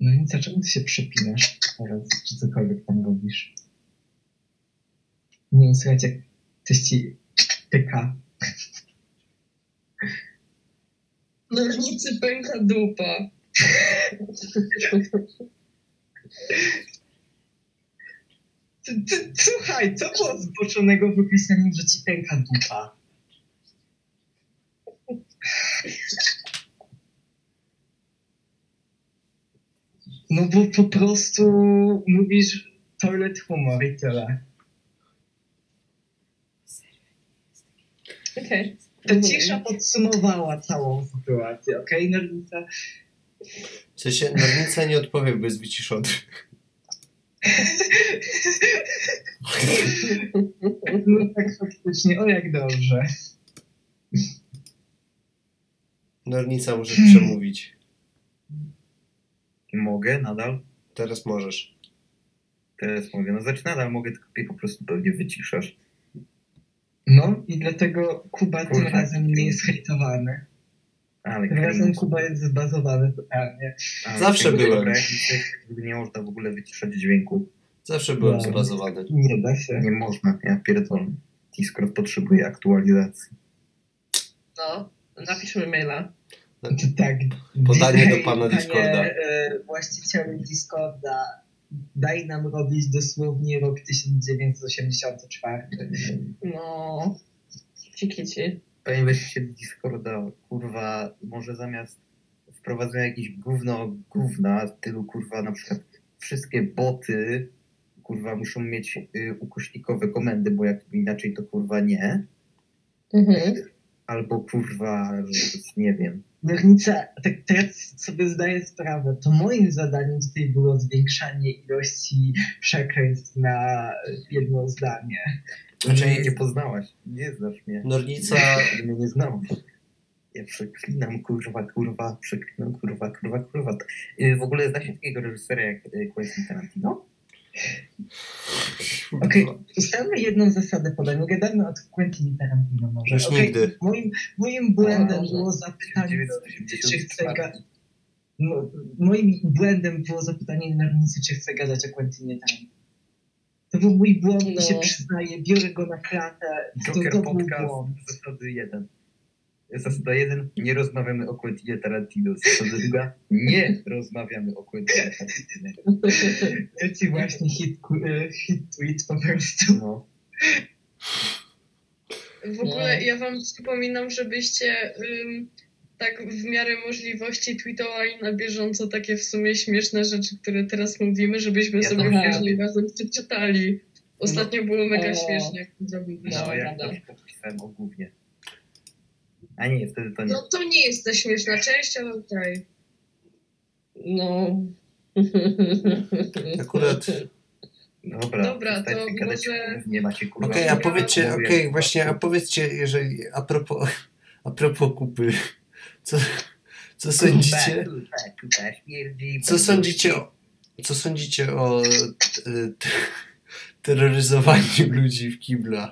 Speaker 3: No nic, a czemu ty się przypinasz teraz, czy cokolwiek tam robisz? Nie wiem, słuchajcie, coś ci tyka.
Speaker 5: Nożnicy pęka dupa.
Speaker 3: Ty, ty, słuchaj, co było zboczonego wykreśleniem, że ci pęka dupa? No bo po prostu mówisz toilet humor i tyle.
Speaker 4: Okej.
Speaker 3: Ta cisza podsumowała całą sytuację, okej, okay? Nornica?
Speaker 2: W sensie Nornica nie odpowie, bo jest wyciszony.
Speaker 3: No tak faktycznie, o jak dobrze.
Speaker 2: Nornica możesz
Speaker 3: Hmm.
Speaker 2: przemówić.
Speaker 1: Mogę nadal?
Speaker 2: Teraz możesz.
Speaker 1: Teraz mogę. No znaczy nadal mogę, tylko ty po prostu pewnie wyciszasz.
Speaker 3: No i dlatego Kuba tym
Speaker 1: Kurwa.
Speaker 3: razem nie jest hejtowany.
Speaker 1: Ale
Speaker 3: Tym
Speaker 2: Mhm.
Speaker 3: razem Kuba jest zbazowany totalnie.
Speaker 1: ale
Speaker 2: Zawsze
Speaker 1: tego
Speaker 2: byłem.
Speaker 1: dobra, jak się- Nie można w ogóle wyciszać dźwięku.
Speaker 2: Zawsze byłem
Speaker 3: Wow.
Speaker 2: zbazowany.
Speaker 3: Nie da się.
Speaker 1: Nie można, ja pierdolę. Discord potrzebuje aktualizacji.
Speaker 4: No, napiszmy maila.
Speaker 3: Tak.
Speaker 2: Podanie
Speaker 3: Dzisiaj,
Speaker 2: do pana
Speaker 3: panie,
Speaker 2: Discorda.
Speaker 3: e, Właścicielu Discorda, daj nam robić dosłownie rok 1984.
Speaker 4: No, cikici.
Speaker 1: Panie właściciel Discorda, kurwa, może zamiast wprowadzenia jakichś gówno gówna, w stylu kurwa na przykład wszystkie boty, kurwa muszą mieć y, ukośnikowe komendy, bo jak inaczej to kurwa nie.
Speaker 4: Mhm.
Speaker 1: Albo kurwa, że- nie wiem.
Speaker 3: Miernica, tak teraz sobie zdaję sprawę, to moim zadaniem tutaj było zwiększanie ilości przekleństw na jedno zdanie.
Speaker 1: Znaczy jej nie poznałaś, nie znasz mnie.
Speaker 2: Nornica,
Speaker 1: Ty mnie nie znałaś. Ja przeklinam, kurwa, kurwa, przeklinam, kurwa, kurwa, kurwa. Y, W ogóle zna się takiego reżysera jak y, Quentin Tarantino?
Speaker 3: Okej, ustalmy jedną zasadę podania. Gadamy od Quentin Tarantino no może.
Speaker 2: już
Speaker 3: Okej,
Speaker 2: nigdy.
Speaker 3: Moim, moim błędem
Speaker 1: Boże.
Speaker 3: było
Speaker 5: Tak,
Speaker 3: zapytanie Nornicy, czy chce ga-
Speaker 1: 1984.
Speaker 3: Mo- Moim błędem było zapytanie Nornicy, czy chce gadać o Quentinie Tarantino. To był mój błąd i
Speaker 4: No.
Speaker 3: się przyznaję, biorę go na klatę. To,
Speaker 1: Joker
Speaker 3: to był
Speaker 1: Podcast,
Speaker 3: błąd.
Speaker 1: zasady 1. Zasada 1, nie rozmawiamy o Quentinie Tarantino. Zasada 2, nie rozmawiamy o Quentinie Tarantino.
Speaker 3: Leci właśnie hit, ku- e, hit tweet po prostu.
Speaker 1: No.
Speaker 5: W ogóle
Speaker 4: No.
Speaker 5: ja wam przypominam, żebyście ym, tak w miarę możliwości tweetowali na bieżąco takie w sumie śmieszne rzeczy, które teraz mówimy, żebyśmy
Speaker 1: Ja
Speaker 5: sobie
Speaker 1: to
Speaker 4: wiem.
Speaker 5: później razem przeczytali. Ostatnio było mega
Speaker 4: O.
Speaker 5: śmiesznie, jak to zrobiliśmy.
Speaker 1: No,
Speaker 4: No,
Speaker 1: ja
Speaker 4: prawda.
Speaker 1: tam podpisałem o głównie. A nie, wtedy to nie.
Speaker 5: No to nie jest ta śmieszna część, ale okej.
Speaker 4: No.
Speaker 2: Akurat.
Speaker 1: Dobra,
Speaker 5: No, Dobra, to
Speaker 1: przestańcie gadać,
Speaker 5: może-
Speaker 1: Nie macie kurwa.
Speaker 2: Okej, a
Speaker 5: ja
Speaker 2: powiedzcie,
Speaker 1: Mówię,
Speaker 2: okej,
Speaker 1: kurwa,
Speaker 2: właśnie, a powiedzcie, jeżeli, a propos, a propos kupy, co, co sądzicie,
Speaker 1: Kurwa, kurwa, śmierdzi,
Speaker 2: co sądzicie, o- co sądzicie o e, t- terroryzowaniu ludzi w kiblach?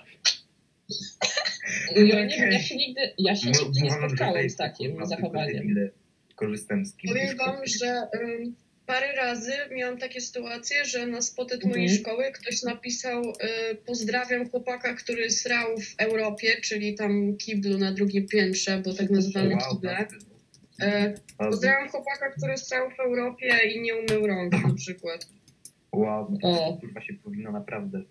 Speaker 4: Ja, nie, ja się nigdy, ja się
Speaker 1: Mu-
Speaker 4: nigdy nie
Speaker 1: mówią, że to
Speaker 4: spotkałem
Speaker 1: jest,
Speaker 4: z takim
Speaker 1: kurwa,
Speaker 4: zachowaniem.
Speaker 1: tylko debile. Korzystam z kimś.
Speaker 5: Powiem wam, że ym, parę razy miałam takie sytuacje, że na spotet mojej
Speaker 4: Mhm.
Speaker 5: szkoły ktoś napisał y, pozdrawiam chłopaka, który srał w Europie, czyli tam kiblu na drugim piętrze, bo tak nazywamy kible. E, pozdrawiam chłopaka, który srał w Europie i nie umył rąk na przykład.
Speaker 1: Wow, tak
Speaker 4: O.
Speaker 1: kurwa się powinno naprawdę.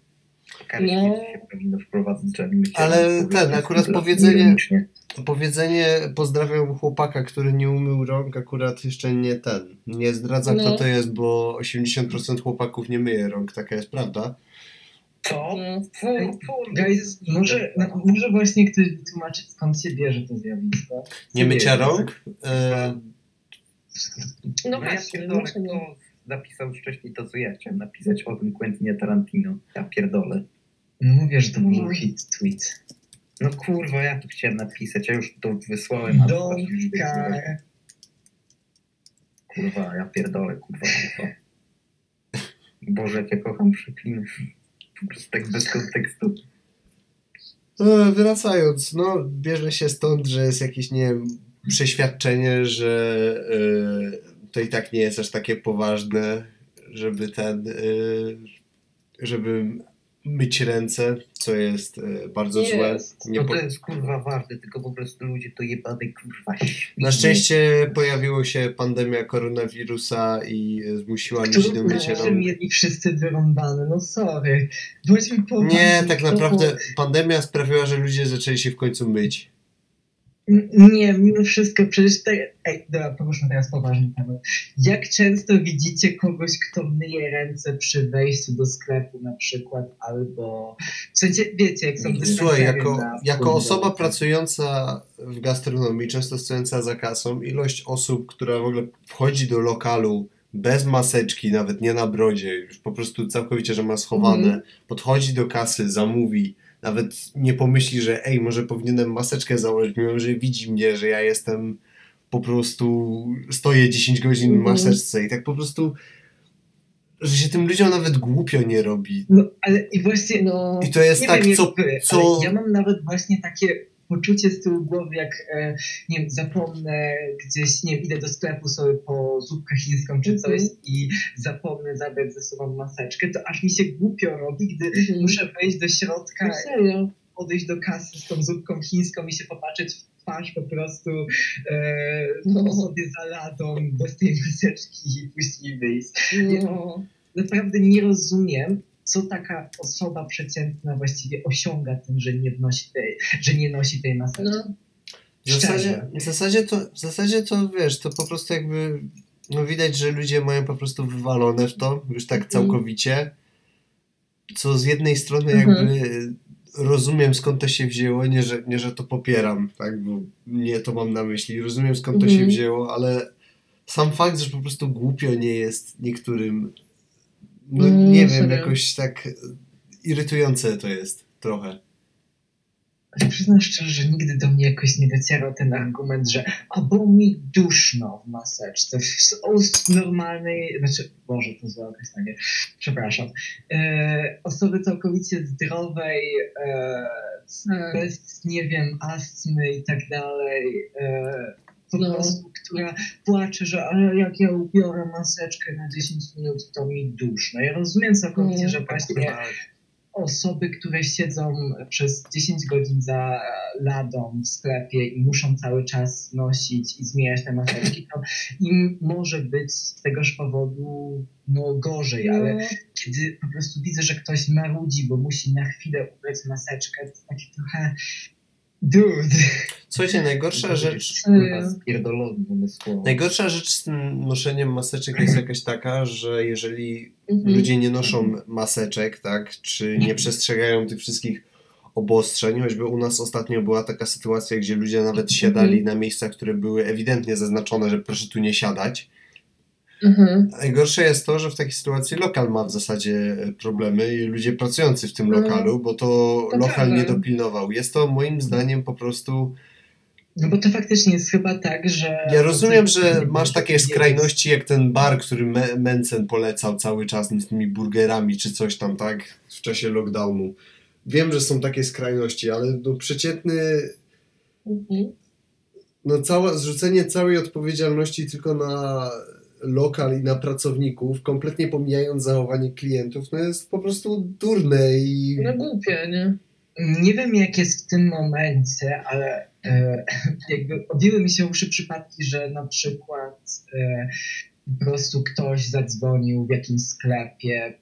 Speaker 1: Karki
Speaker 4: No.
Speaker 1: się powinno wprowadzać, trzeba mieć
Speaker 2: Ale
Speaker 1: jakieś
Speaker 2: ten,
Speaker 1: kurwa,
Speaker 2: akurat
Speaker 1: kurwa,
Speaker 2: powiedzenie-
Speaker 1: ironicznie.
Speaker 2: Powiedzenie pozdrawiam chłopaka, który nie umył rąk, akurat jeszcze nie ten. Nie zdradza kto
Speaker 4: No.
Speaker 2: to jest, bo 80% chłopaków nie myje rąk, taka jest prawda.
Speaker 1: Co?
Speaker 4: No.
Speaker 1: Fu, fu,
Speaker 3: Guys, może, no, może właśnie ktoś wytłumaczyć skąd się bierze to zjawisko.
Speaker 2: Nie mycia
Speaker 1: wiem,
Speaker 2: rąk? E,
Speaker 4: No
Speaker 1: No ja
Speaker 4: właśnie,
Speaker 1: pierdolę,
Speaker 4: właśnie nie.
Speaker 1: kto napisał wcześniej to, co ja chciałem napisać o tym Quentinie Tarantino. Ja pierdolę.
Speaker 3: No mówię, że to był hit tweet.
Speaker 1: No kurwa, ja to chciałem napisać, ja już to wysłałem. ale
Speaker 3: Don't
Speaker 1: to już
Speaker 3: Kar.
Speaker 1: Kurwa, ja pierdolę, kurwa. no To. Boże, jak ja kocham przekliny. Po prostu tak bez kontekstu.
Speaker 2: E, Wracając, no bierze się stąd, że jest jakieś, nie wiem, przeświadczenie, że e, to i tak nie jest aż takie poważne, żeby ten, e, żeby myć ręce, co jest e, bardzo
Speaker 4: Nie
Speaker 2: złe.
Speaker 4: jest.
Speaker 2: Nie
Speaker 1: No to,
Speaker 2: po...
Speaker 1: to jest kurwa ważne, tylko po prostu ludzie to jebane kurwa.
Speaker 2: Na szczęście pojawiła się pandemia koronawirusa i e, zmusiła ludzi do
Speaker 3: Którą
Speaker 2: mycia
Speaker 3: zawsze
Speaker 2: rąk.
Speaker 3: mieli wszyscy wyrąbane, no sorry. Bądźmy poważni.
Speaker 2: Nie, tak
Speaker 3: to-
Speaker 2: naprawdę pandemia sprawiła, że ludzie zaczęli się w końcu myć.
Speaker 3: N- Nie, mimo wszystko, przecież te... Ej, dobra, poruszmy teraz poważny temat. Jak często widzicie kogoś, kto myje ręce przy wejściu do sklepu na przykład, albo... W sensie, wiecie, jak są
Speaker 2: Słuchaj,
Speaker 3: dystansery
Speaker 2: jako,
Speaker 3: na
Speaker 2: jako
Speaker 3: wpływ do-
Speaker 2: osoba pracująca w gastronomii, często stojąca za kasą, ilość osób, która w ogóle wchodzi do lokalu bez maseczki, nawet nie na brodzie, już po prostu całkowicie, że ma schowane,
Speaker 4: Mhm.
Speaker 2: podchodzi do kasy, zamówi, nawet nie pomyśli, że ej, może powinienem maseczkę założyć, mimo że widzi mnie, że ja jestem po prostu, stoję 10 godzin w
Speaker 4: Mhm.
Speaker 2: maseczce i tak po prostu, że się tym ludziom nawet głupio nie robi.
Speaker 3: No, ale i właśnie...
Speaker 4: No,
Speaker 2: I to jest
Speaker 3: nie
Speaker 2: tak,
Speaker 3: wiem,
Speaker 2: co,
Speaker 3: jak wy,
Speaker 2: co...
Speaker 3: ale ja mam nawet właśnie takie poczucie z tyłu głowy, jak e, nie wiem, zapomnę gdzieś, nie wiem, idę do sklepu sobie po zupkę chińską czy coś
Speaker 4: Mhm.
Speaker 3: i zapomnę zabrać ze sobą maseczkę, to aż mi się głupio robi, gdy
Speaker 4: mhm.
Speaker 3: muszę wejść do środka
Speaker 4: No serio.
Speaker 3: odejść do kasy z tą zupką chińską i się popatrzeć w twarz po prostu e,
Speaker 4: No.
Speaker 3: sobie za ladą bez tej maseczki i później wyjść.
Speaker 4: No.
Speaker 3: Naprawdę nie rozumiem, co taka osoba przeciętna właściwie osiąga tym, że nie, wnosi tej, że nie nosi tej maseczki.
Speaker 4: No.
Speaker 2: W zasadzie,
Speaker 3: Szczerze.
Speaker 2: w, zasadzie to, w zasadzie to wiesz, to po prostu jakby no widać, że ludzie mają po prostu wywalone w to już tak
Speaker 4: Mhm.
Speaker 2: całkowicie. Co z jednej strony
Speaker 4: Mhm.
Speaker 2: jakby rozumiem skąd to się wzięło, nie że, nie że to popieram, tak, bo nie to mam na myśli. Rozumiem skąd to się
Speaker 4: Mhm.
Speaker 2: wzięło, ale sam fakt, że po prostu głupio nie jest niektórym, no
Speaker 4: Mm,
Speaker 2: nie wiem,
Speaker 4: serio.
Speaker 2: jakoś tak e, irytujące to jest trochę.
Speaker 3: Przyznam szczerze, że nigdy do mnie jakoś nie docierał ten argument, że a bo mi duszno w maseczce, w s- ust normalnej, znaczy, Boże, to złe określenie, przepraszam, e, osoby całkowicie zdrowej, e,
Speaker 4: Tak.
Speaker 3: bez, nie wiem, astmy i tak dalej, e, po
Speaker 4: No.
Speaker 3: prostu, która płacze, że ale jak ja ubiorę maseczkę na 10 minut, to mi duszno. Ja rozumiem całkowicie,
Speaker 4: Mm.
Speaker 3: że właśnie osoby, które siedzą przez 10 godzin za ladą w sklepie i muszą cały czas nosić i zmieniać te maseczki, to im może być z tegoż powodu no, gorzej, ale
Speaker 4: No.
Speaker 3: kiedy po prostu widzę, że ktoś marudzi, bo musi na chwilę ubrać maseczkę, to takie trochę dude.
Speaker 2: Słuchajcie, najgorsza rzecz, Tak.
Speaker 1: Kurwa, spierdolony umysłowo.
Speaker 2: Najgorsza rzecz z tym noszeniem maseczek jest jakaś taka, że jeżeli
Speaker 4: Mhm.
Speaker 2: ludzie nie noszą maseczek, tak, czy nie przestrzegają tych wszystkich obostrzeń, choćby u nas ostatnio była taka sytuacja, gdzie ludzie
Speaker 4: Mhm.
Speaker 2: nawet siadali na miejscach, które były ewidentnie zaznaczone, że proszę tu nie siadać.
Speaker 4: Mhm.
Speaker 2: Najgorsze jest to, że w takiej sytuacji lokal ma w zasadzie e, problemy i ludzie pracujący w tym
Speaker 4: No.
Speaker 2: lokalu, bo to
Speaker 4: To
Speaker 2: lokal
Speaker 4: prawda.
Speaker 2: nie dopilnował. Jest to moim zdaniem po prostu
Speaker 3: No bo to faktycznie jest chyba tak, że...
Speaker 2: Ja rozumiem, że masz takie skrajności jak ten bar, który Me- Mencen polecał cały czas z tymi burgerami czy coś tam, tak? W czasie lockdownu. Wiem, że są takie skrajności, ale no przeciętny,
Speaker 4: Mhm.
Speaker 2: no całe, zrzucenie całej odpowiedzialności tylko na lokal i na pracowników, kompletnie pomijając zachowanie klientów, no jest po prostu durne i...
Speaker 4: No głupie, nie?
Speaker 3: Nie wiem, jak jest w tym momencie, ale e, jakby odjęły mi się uszy przypadki, że na przykład e, po prostu ktoś zadzwonił w jakimś sklepie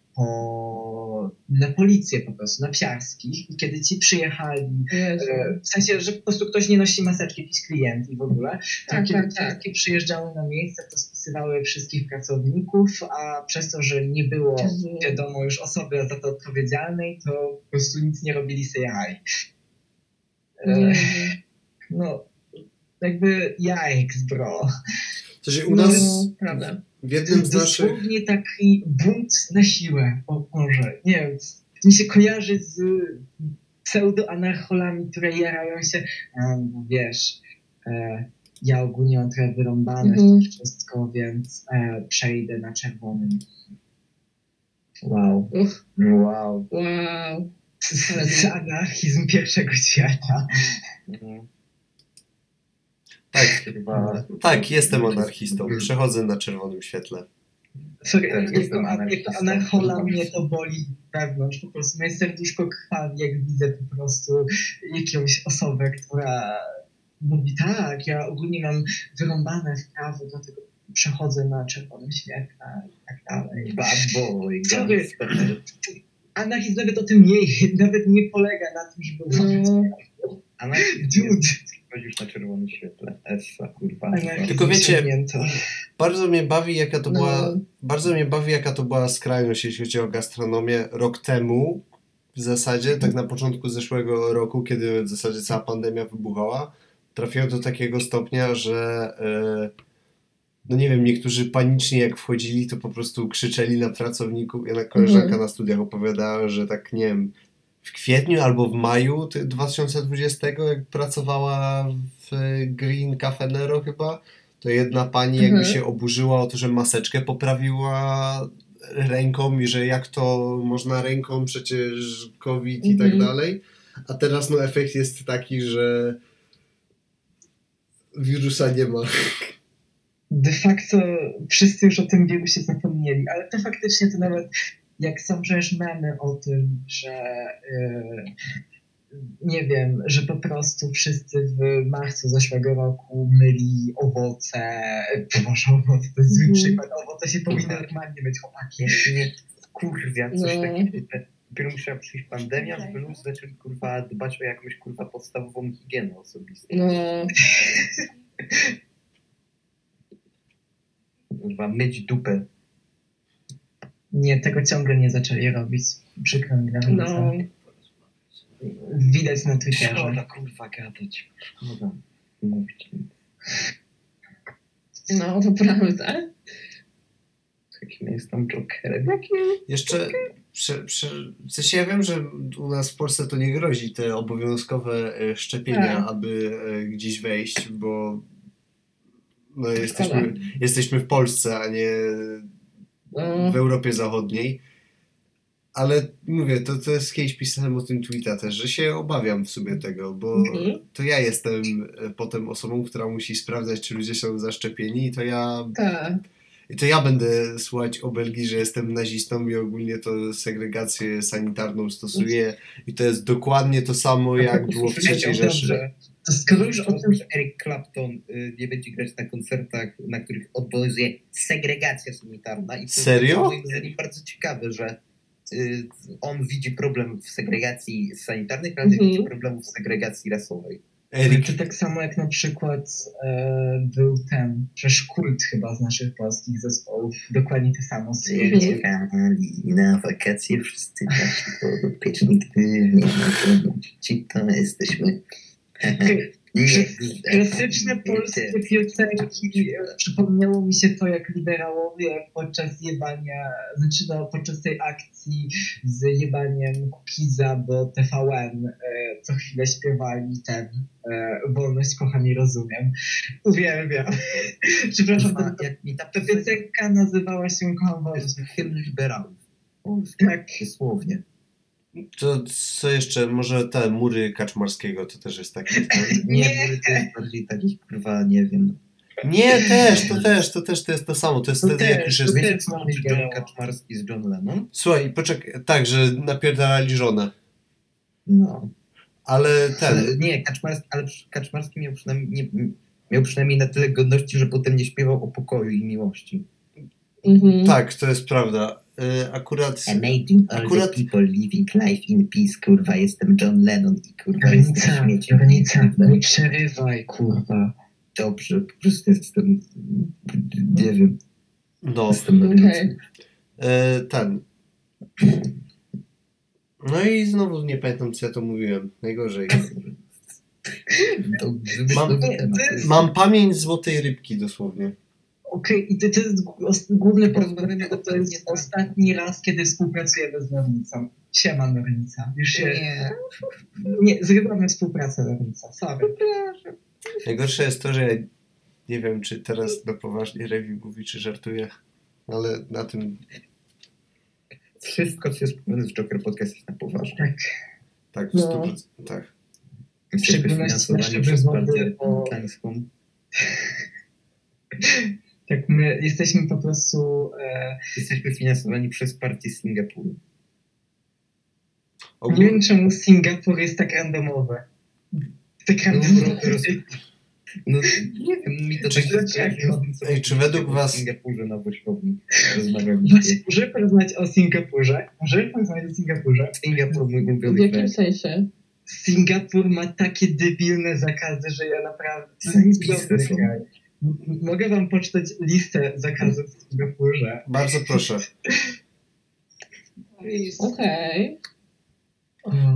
Speaker 3: po, na policję po prostu, na psiarskich i kiedy ci przyjechali,
Speaker 4: Jezu.
Speaker 3: e, w sensie, że po prostu ktoś nie nosi maseczki, jakiś klient i w ogóle, to
Speaker 4: Tak,
Speaker 3: kiedy
Speaker 4: tak, tak.
Speaker 3: psiarki przyjeżdżały na miejsce, to spisywały wszystkich pracowników, a przez to, że nie było
Speaker 4: Jezu.
Speaker 3: wiadomo, już osoby za to odpowiedzialnej, to po prostu nic nie robili, se jaj. E,
Speaker 4: Jezu.
Speaker 3: no, jakby jajks, bro.
Speaker 2: Co się u
Speaker 4: No, Mhm.
Speaker 2: nas
Speaker 4: prawda.
Speaker 2: w jednym z naszych...
Speaker 3: Dosłownie taki bunt na siłę, o może. Nie wiem, mi się kojarzy z mm, pseudo-anarcholami, które jarają się, a, no wiesz, e, ja ogólnie mam trochę wyrąbane
Speaker 4: Mhm.
Speaker 3: w to wszystko, więc e, przejdę na czerwonym. Wow.
Speaker 4: Uch,
Speaker 1: Wow.
Speaker 4: wow.
Speaker 3: Anarchizm pierwszego świata.
Speaker 1: No,
Speaker 2: Tak,
Speaker 1: Kurwa.
Speaker 2: tak, jestem
Speaker 4: Mhm.
Speaker 2: anarchistą. Przechodzę na czerwonym świetle.
Speaker 3: Sorry,
Speaker 1: Też
Speaker 3: jak
Speaker 1: jestem
Speaker 3: to- jak to
Speaker 1: anarchistą.
Speaker 3: anarchola mnie to boli wewnątrz, po prostu no moje serduszko krwawi, jak widzę po prostu jakąś osobę, która mówi tak, ja ogólnie mam wyrąbane w prawo, dlatego przechodzę na czerwonym świetle i tak dalej.
Speaker 1: Bad boy.
Speaker 3: Sorry.
Speaker 1: gangster.
Speaker 3: Anarchizm nawet o tym nie, nawet nie polega na tym, żeby
Speaker 4: No,
Speaker 1: Anarchizm
Speaker 3: Dude.
Speaker 1: jest chodzisz na czerwonym świetle. Essa, kurwa.
Speaker 3: Anarchizm
Speaker 2: Tylko wiecie-
Speaker 3: osiągnięto.
Speaker 2: Bardzo mnie bawi, jaka to
Speaker 4: No.
Speaker 2: była. Bardzo mnie bawi, jaka to była skrajność, jeśli chodzi o gastronomię rok temu. W zasadzie, tak na początku zeszłego roku, kiedy w zasadzie cała pandemia wybuchała, trafiło do takiego stopnia, że e, no nie wiem, niektórzy panicznie jak wchodzili, to po prostu krzyczeli na pracowników. Jedna koleżanka
Speaker 4: Mhm.
Speaker 2: na studiach opowiadała, że tak nie wiem, w kwietniu albo w maju ty- 2020, jak pracowała w e, Green Cafe Nero chyba, to jedna pani jakby
Speaker 4: Mhm.
Speaker 2: się oburzyła o to, że maseczkę poprawiła ręką i że jak to można ręką, przecież COVID i tak
Speaker 4: Mhm.
Speaker 2: dalej. A teraz no efekt jest taki, że wirusa nie ma.
Speaker 3: de facto wszyscy już o tym wielu się zapomnieli, ale to faktycznie to nawet jak są przecież memy o tym, że e, nie wiem, że po prostu wszyscy w marcu zeszłego roku myli owoce, boże owoce, to jest zły
Speaker 4: Mhm. Tak.
Speaker 3: przykład, owoce się powinno normalnie myć, chłopaki.
Speaker 1: Nie, kurwia, coś
Speaker 4: No.
Speaker 1: takiego. Dopiero musiała przyjść pandemia,
Speaker 5: Tak.
Speaker 1: żeby ludzie zaczęli kurwa dbać o jakąś kurwa podstawową higienę osobistą.
Speaker 4: No,
Speaker 1: Kurwa, myć dupę.
Speaker 3: Nie, tego ciągle nie zaczęli robić, przykro mi nawet.
Speaker 4: no.
Speaker 3: Widać na Twitterze.
Speaker 1: Szkoda tak, kurwa gadać. Szkoda. Mówić.
Speaker 4: No, to prawda.
Speaker 1: Jakim jestem jokerem? Jaki?
Speaker 2: Jeszcze, prze, prze, w sensie ja wiem, że u nas w Polsce to nie grozi te obowiązkowe e, szczepienia,
Speaker 4: Tak.
Speaker 2: aby e, gdzieś wejść, bo no,
Speaker 4: Szkoda.
Speaker 2: jesteśmy, jesteśmy w Polsce, a nie
Speaker 4: No,
Speaker 2: w Europie Zachodniej. Ale mówię, to, to jest kiedyś pisałem o tym tweeta też, że się obawiam w sumie tego, bo
Speaker 4: Mhm.
Speaker 2: to ja jestem e, potem osobą, która musi sprawdzać, czy ludzie są zaszczepieni i to ja
Speaker 4: tak.
Speaker 2: i to ja będę słuchać obelgi, że jestem nazistą i ogólnie to segregację sanitarną stosuję. I to jest dokładnie to samo, jak było w III Rzeszy.
Speaker 3: To skoro
Speaker 1: Skoro
Speaker 3: już
Speaker 1: już
Speaker 3: o
Speaker 1: o
Speaker 3: tym
Speaker 1: tym, że Eric Clapton y, nie będzie grać na koncertach, na których obowiązuje segregacja sanitarna. I to
Speaker 2: Serio?
Speaker 1: jest moim zdaniem bardzo ciekawe, że y, on widzi problem w segregacji sanitarnej, ale
Speaker 4: Mhm.
Speaker 1: nie widzi problemu w segregacji rasowej.
Speaker 2: Erik,
Speaker 3: To tak samo jak na przykład e, był ten, przecież kult chyba z naszych polskich zespołów, dokładnie to samo.
Speaker 1: Zjeżdżali na wakacje wszyscy nasi podopieczni, gdy nie ma trudności, to jesteśmy... Nie,
Speaker 3: Klasyczne polskie piosenki. Przypomniało mi się to, jak liberałowie podczas jebania, znaczy no, podczas tej akcji z jebaniem Kukiza do TVN e, co chwilę śpiewali ten e, Wolność kocham i rozumiem. Uwielbiam. Przepraszam,
Speaker 1: Kurwa,
Speaker 3: ta,
Speaker 1: Jak mi ta
Speaker 3: ta piosenka nazywała się Kocham
Speaker 1: To
Speaker 3: Wolność.
Speaker 1: jest hymn liberałów.
Speaker 3: Tak.
Speaker 1: Dosłownie.
Speaker 2: to co jeszcze? Może te mury Kaczmarskiego to też jest taki.
Speaker 1: Nie,
Speaker 3: Nie.
Speaker 1: nie. to jest bardziej taki, kurwa, nie wiem.
Speaker 2: Nie, też, to też, to też, to jest to samo. To jest
Speaker 3: To
Speaker 2: wtedy, jak
Speaker 3: też,
Speaker 2: już
Speaker 3: to
Speaker 2: jest.
Speaker 1: Wiecie,
Speaker 3: też
Speaker 1: co
Speaker 3: mam
Speaker 1: łączy John
Speaker 3: ideał.
Speaker 1: Kaczmarski z John Lennon?
Speaker 2: Słuchaj, poczekaj, tak, że napierdalali żonę.
Speaker 1: No.
Speaker 2: Ale ten,
Speaker 1: Nie, Kaczmarski, ale przy- Kaczmarski miał przynajmniej, nie, miał przynajmniej na tyle godności, że potem nie śpiewał o pokoju i miłości.
Speaker 4: Mhm.
Speaker 2: tak, to jest prawda. Y, Akurat.
Speaker 1: Amazing
Speaker 2: all the Akurat-
Speaker 1: people living life in peace, kurwa, jestem John Lennon i kurwa No
Speaker 3: Granica, granica, No nie przerywaj, kurwa.
Speaker 1: Dobrze, po prostu jestem, nie wiem,
Speaker 2: No.
Speaker 1: jestem
Speaker 4: Okej.
Speaker 1: okay.
Speaker 2: E, ten. No i znowu nie pamiętam, co ja to mówiłem. Najgorzej.
Speaker 1: To
Speaker 2: Mam-
Speaker 1: wymyślony temat.
Speaker 2: Mam pamięć złotej rybki dosłownie.
Speaker 3: Okej, i to, to jest os- główny
Speaker 1: Bo
Speaker 3: powód, dla
Speaker 1: rozmawiamy
Speaker 3: którego
Speaker 1: o
Speaker 3: to jest
Speaker 1: tym.
Speaker 3: ostatni raz, kiedy współpracujemy z Nornicą. Siema Nornica. Już się...
Speaker 1: Nie.
Speaker 3: Nie, zrywamy współpracę Nornica, sorry.
Speaker 2: Najgorsze jest to, że ja nie wiem, czy teraz na poważnie Rewi mówi, czy żartuje. Ale na tym
Speaker 1: Wszystko, co jest powiązane z Joker Podcast jest na poważnie.
Speaker 2: tak
Speaker 3: Tak,
Speaker 2: w
Speaker 4: No.
Speaker 2: 100%. Tak.
Speaker 1: Jesteśmy
Speaker 3: szczególności
Speaker 1: finansowani
Speaker 3: nasze
Speaker 1: przez
Speaker 3: wywody,
Speaker 1: partię
Speaker 3: bo-
Speaker 1: amerykańską.
Speaker 3: tak, my jesteśmy po prostu... E,
Speaker 1: Jesteśmy finansowani przez partię Singapuru.
Speaker 3: nie
Speaker 2: Ogólnie
Speaker 3: wiem czemu Singapur jest tak randomowy. Tak
Speaker 1: No,
Speaker 3: randomowy.
Speaker 1: roz- no nie wiem, mi to
Speaker 2: Czy-
Speaker 1: tak
Speaker 3: dlaczego?
Speaker 2: Ej, czy według was-
Speaker 1: W Singapurze na wierzchowni rozmawialiśmy.
Speaker 3: Właśnie, możemy porozmawiać o Singapurze? Możemy porozmawiać o Singapurze?
Speaker 1: Singapur mój
Speaker 4: W
Speaker 1: ulubiony
Speaker 4: jakim
Speaker 1: kraj.
Speaker 4: sensie?
Speaker 3: Singapur ma takie debilne zakazy, że ja naprawdę... To jest
Speaker 1: Zajebiste
Speaker 3: cudowny
Speaker 1: są.
Speaker 3: kraj. M- m- Mogę wam poczytać listę zakazów w Singapurze.
Speaker 2: bardzo proszę.
Speaker 4: Okej.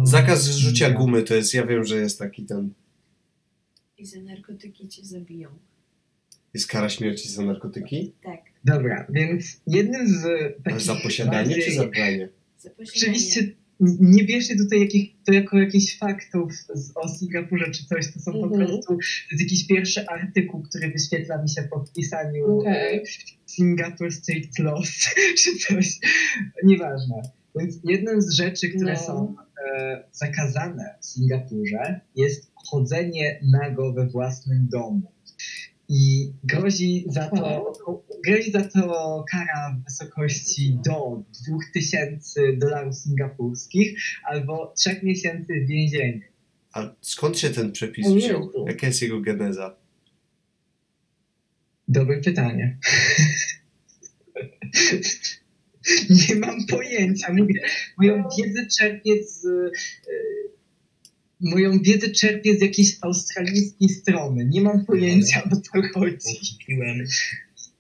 Speaker 2: Zakaz rzucia
Speaker 3: Nie.
Speaker 2: gumy to jest, ja wiem, że jest taki ten.
Speaker 6: I za narkotyki cię zabiją.
Speaker 2: Jest kara śmierci za narkotyki?
Speaker 6: Tak.
Speaker 3: Dobra, więc jednym z
Speaker 2: Ale
Speaker 3: takich...
Speaker 2: za posiadanie
Speaker 3: bardziej-
Speaker 2: czy za branie?
Speaker 6: Za posiadanie.
Speaker 3: Oczywiście nie bierzcie tutaj jakich, to jako jakichś faktów z, o Singapurze czy coś, to są po
Speaker 4: Mhm.
Speaker 3: prostu to jest jakiś pierwszy artykuł, który wyświetla mi się po wpisaniu
Speaker 4: Okej.
Speaker 3: e, Singapore Street Laws czy coś, nieważne. Więc jedną z rzeczy, które
Speaker 4: No.
Speaker 3: są e, zakazane w Singapurze jest chodzenie nago we własnym domu. I grozi za to, grozi za to kara w wysokości do 2000 dolarów singapurskich albo 3 miesięcy więzienia.
Speaker 2: A skąd się ten przepis
Speaker 3: O
Speaker 2: wziął?
Speaker 3: Jezu.
Speaker 2: Jaka jest jego geneza?
Speaker 3: Dobre pytanie. Nie mam pojęcia. Mówię, moją wiedzę czerpię z. y, Moją wiedzę czerpię z jakiejś australijskiej strony. Nie mam pojęcia o co chodzi.
Speaker 1: Kupiłem,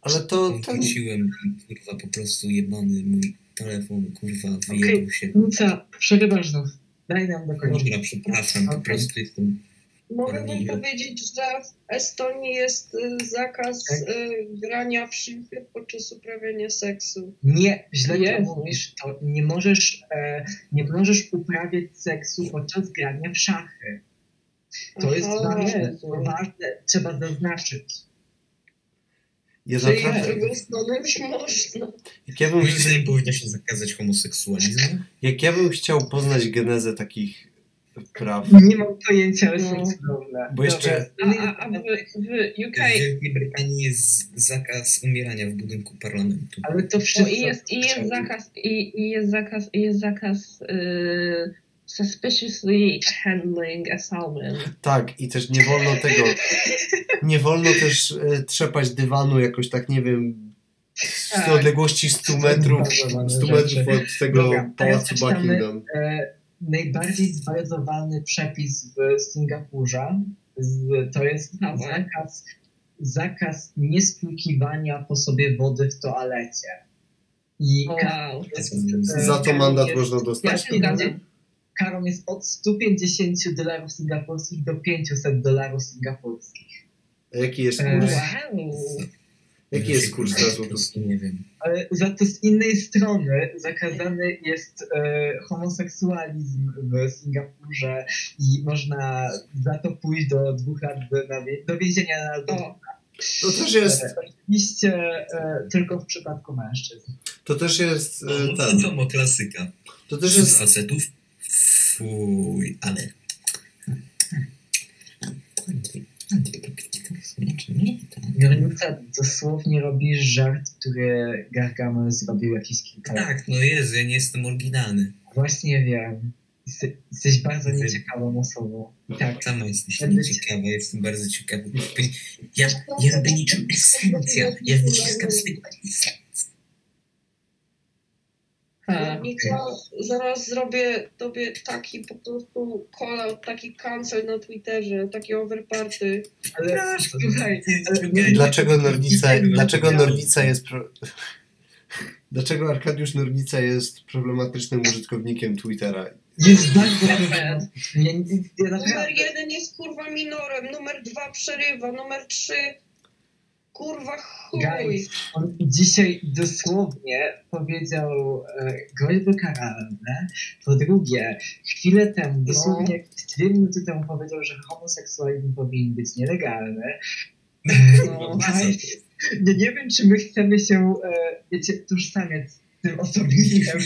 Speaker 2: Ale to ten...
Speaker 1: kupiłem, kurwa, po prostu jebany mój telefon, kurwa, wyjebał
Speaker 3: Okej.
Speaker 1: się.
Speaker 3: Nuca, przerywasz nas. Daj nam dokończyć.
Speaker 1: Dobra, przepraszam, po
Speaker 3: Okej.
Speaker 1: prostu jestem...
Speaker 5: Mogę wam
Speaker 1: Arminia.
Speaker 5: powiedzieć, że w Estonii jest y, zakaz
Speaker 4: Tak.
Speaker 5: y, grania w szybie podczas uprawiania seksu.
Speaker 3: Nie, źle
Speaker 4: Jezu.
Speaker 3: to mówisz. To nie możesz, e, nie możesz uprawiać seksu podczas grania w szachy. To jest
Speaker 5: Aha.
Speaker 3: ważne, to ważne, trzeba zaznaczyć.
Speaker 2: Ja
Speaker 5: Czyli z
Speaker 2: naprawdę...
Speaker 5: drugą stroną można.
Speaker 2: Jak ja bym
Speaker 1: Moim zdaniem powinno się zakazać homoseksualizmu.
Speaker 2: Jak ja bym chciał poznać genezę takich praw,
Speaker 3: Nie mam pojęcia, ale są
Speaker 4: No.
Speaker 3: cudowne.
Speaker 2: bo jeszcze
Speaker 4: A, a, a w,
Speaker 5: tak
Speaker 4: w UK
Speaker 1: W Wielkiej Brytanii jest zakaz umierania w budynku parlamentu.
Speaker 3: Ale to
Speaker 4: o,
Speaker 3: wszystko.
Speaker 4: i, jest, i jest zakaz, i, i jest zakaz, i jest zakaz y, suspiciously handling a salmon.
Speaker 2: tak i też nie wolno tego, nie wolno też e, trzepać dywanu jakoś tak, nie wiem, z
Speaker 4: Tak.
Speaker 2: odległości 100 metrów, 100 metrów od tego
Speaker 3: Dobra, a ja
Speaker 2: pałacu no.
Speaker 3: przeczytamy-
Speaker 2: Buckingham.
Speaker 3: E, najbardziej zbariowany przepis w Singapurze z, to jest zakaz, zakaz niespłukiwania po sobie wody w toalecie. I
Speaker 4: O,
Speaker 3: ka-
Speaker 4: Wow.
Speaker 3: jest, e,
Speaker 2: Za to
Speaker 3: karą
Speaker 2: mandat
Speaker 3: jest-
Speaker 2: można
Speaker 4: Ja
Speaker 2: dostać.
Speaker 4: się zgadzam.
Speaker 3: Karą jest od 150 dolarów singapurskich do 500 dolarów singapurskich.
Speaker 2: A Jaki jest
Speaker 3: E,
Speaker 2: kurs?
Speaker 4: Wow.
Speaker 2: Jaki
Speaker 1: Ja
Speaker 2: jest
Speaker 1: się,
Speaker 2: kurs
Speaker 1: Znaczy, kurwa,
Speaker 2: na
Speaker 1: Po
Speaker 2: złotówkę?
Speaker 1: prostu nie wiem.
Speaker 3: Ale za to z innej strony zakazany jest e, homoseksualizm w Singapurze i można za to pójść do dwóch lat do, na wie- do więzienia na do,
Speaker 4: O,
Speaker 2: To też jest,
Speaker 3: Oczywiście e, tylko w przypadku mężczyzn.
Speaker 2: to też jest e,
Speaker 1: To
Speaker 2: ten,
Speaker 1: samo No, klasyka.
Speaker 2: to też
Speaker 1: Z
Speaker 2: jest,
Speaker 1: facetów? Fuj, ale...
Speaker 4: No
Speaker 3: Granica dosłownie robi żart, który Gargamel zrobił jakieś kilka lat.
Speaker 1: Tak, no Jezu, ja nie jestem oryginalny.
Speaker 3: Właśnie wiem. Jeste- Jesteś bardzo nieciekawą osobą. Tak.
Speaker 1: Sama jesteś
Speaker 3: Będę
Speaker 1: ciekawa, jestem bardzo ciekawy. Ja, ja będę niczym esencja, ja wyciskam z tego esencję.
Speaker 4: ha.
Speaker 5: Nika, zaraz zrobię tobie taki po prostu call taki cancel na Twitterze, taki overparty.
Speaker 3: Ale
Speaker 1: Słuchaj,
Speaker 2: dlaczego Nornica,
Speaker 1: Nie wiem,
Speaker 2: dlaczego
Speaker 1: ja-
Speaker 2: Nornica jest, pro... dlaczego Arkadiusz Nornica jest problematycznym użytkownikiem Twittera?
Speaker 3: jest bardzo...
Speaker 4: Dobra.
Speaker 3: Ja, ja
Speaker 5: Numer
Speaker 3: naprawdę...
Speaker 5: jeden jest kurwa minorem, numer dwa przerywa, numer trzy kurwa chuj.
Speaker 3: Guys, on dzisiaj dosłownie powiedział e, groźby karalne. Po drugie, chwilę temu, dosłownie jak dwie minuty temu powiedział, że homoseksualizm powinien być nielegalny.
Speaker 4: No,
Speaker 3: Nie, nie wiem, czy my chcemy się, e, wiecie, tożsamiać z tym osobnikiem.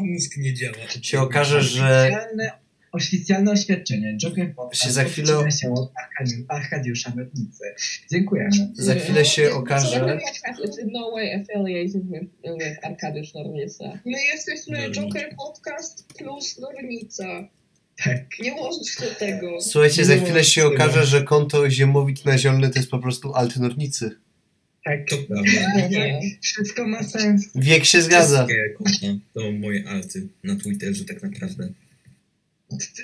Speaker 1: Mózg nie działa.
Speaker 2: się okaże, że
Speaker 3: Oficjalne, oficjalne oświadczenie Joker Podcast
Speaker 2: Się za chwilę-
Speaker 3: odcina się od Arkadiu- Arkadiusza Metnicy. Dziękujemy.
Speaker 2: za chwilę się
Speaker 4: Joker
Speaker 2: okaże,
Speaker 4: Podcast is in no way affiliated with, with Arkadiusz Norwiesa.
Speaker 5: My jesteśmy
Speaker 1: Nornica.
Speaker 5: Joker Podcast plus Nornica.
Speaker 3: Tak.
Speaker 5: Nie łącz do tego.
Speaker 2: słuchajcie, za chwilę się okaże, że konto Ziemowit na Zielny to jest po prostu altnornicy.
Speaker 3: Tak.
Speaker 1: To prawda.
Speaker 3: Nie, wszystko ma sens.
Speaker 2: Wiek się zgadza.
Speaker 1: Wszystkie konta To moje alty na Twitterze tak naprawdę.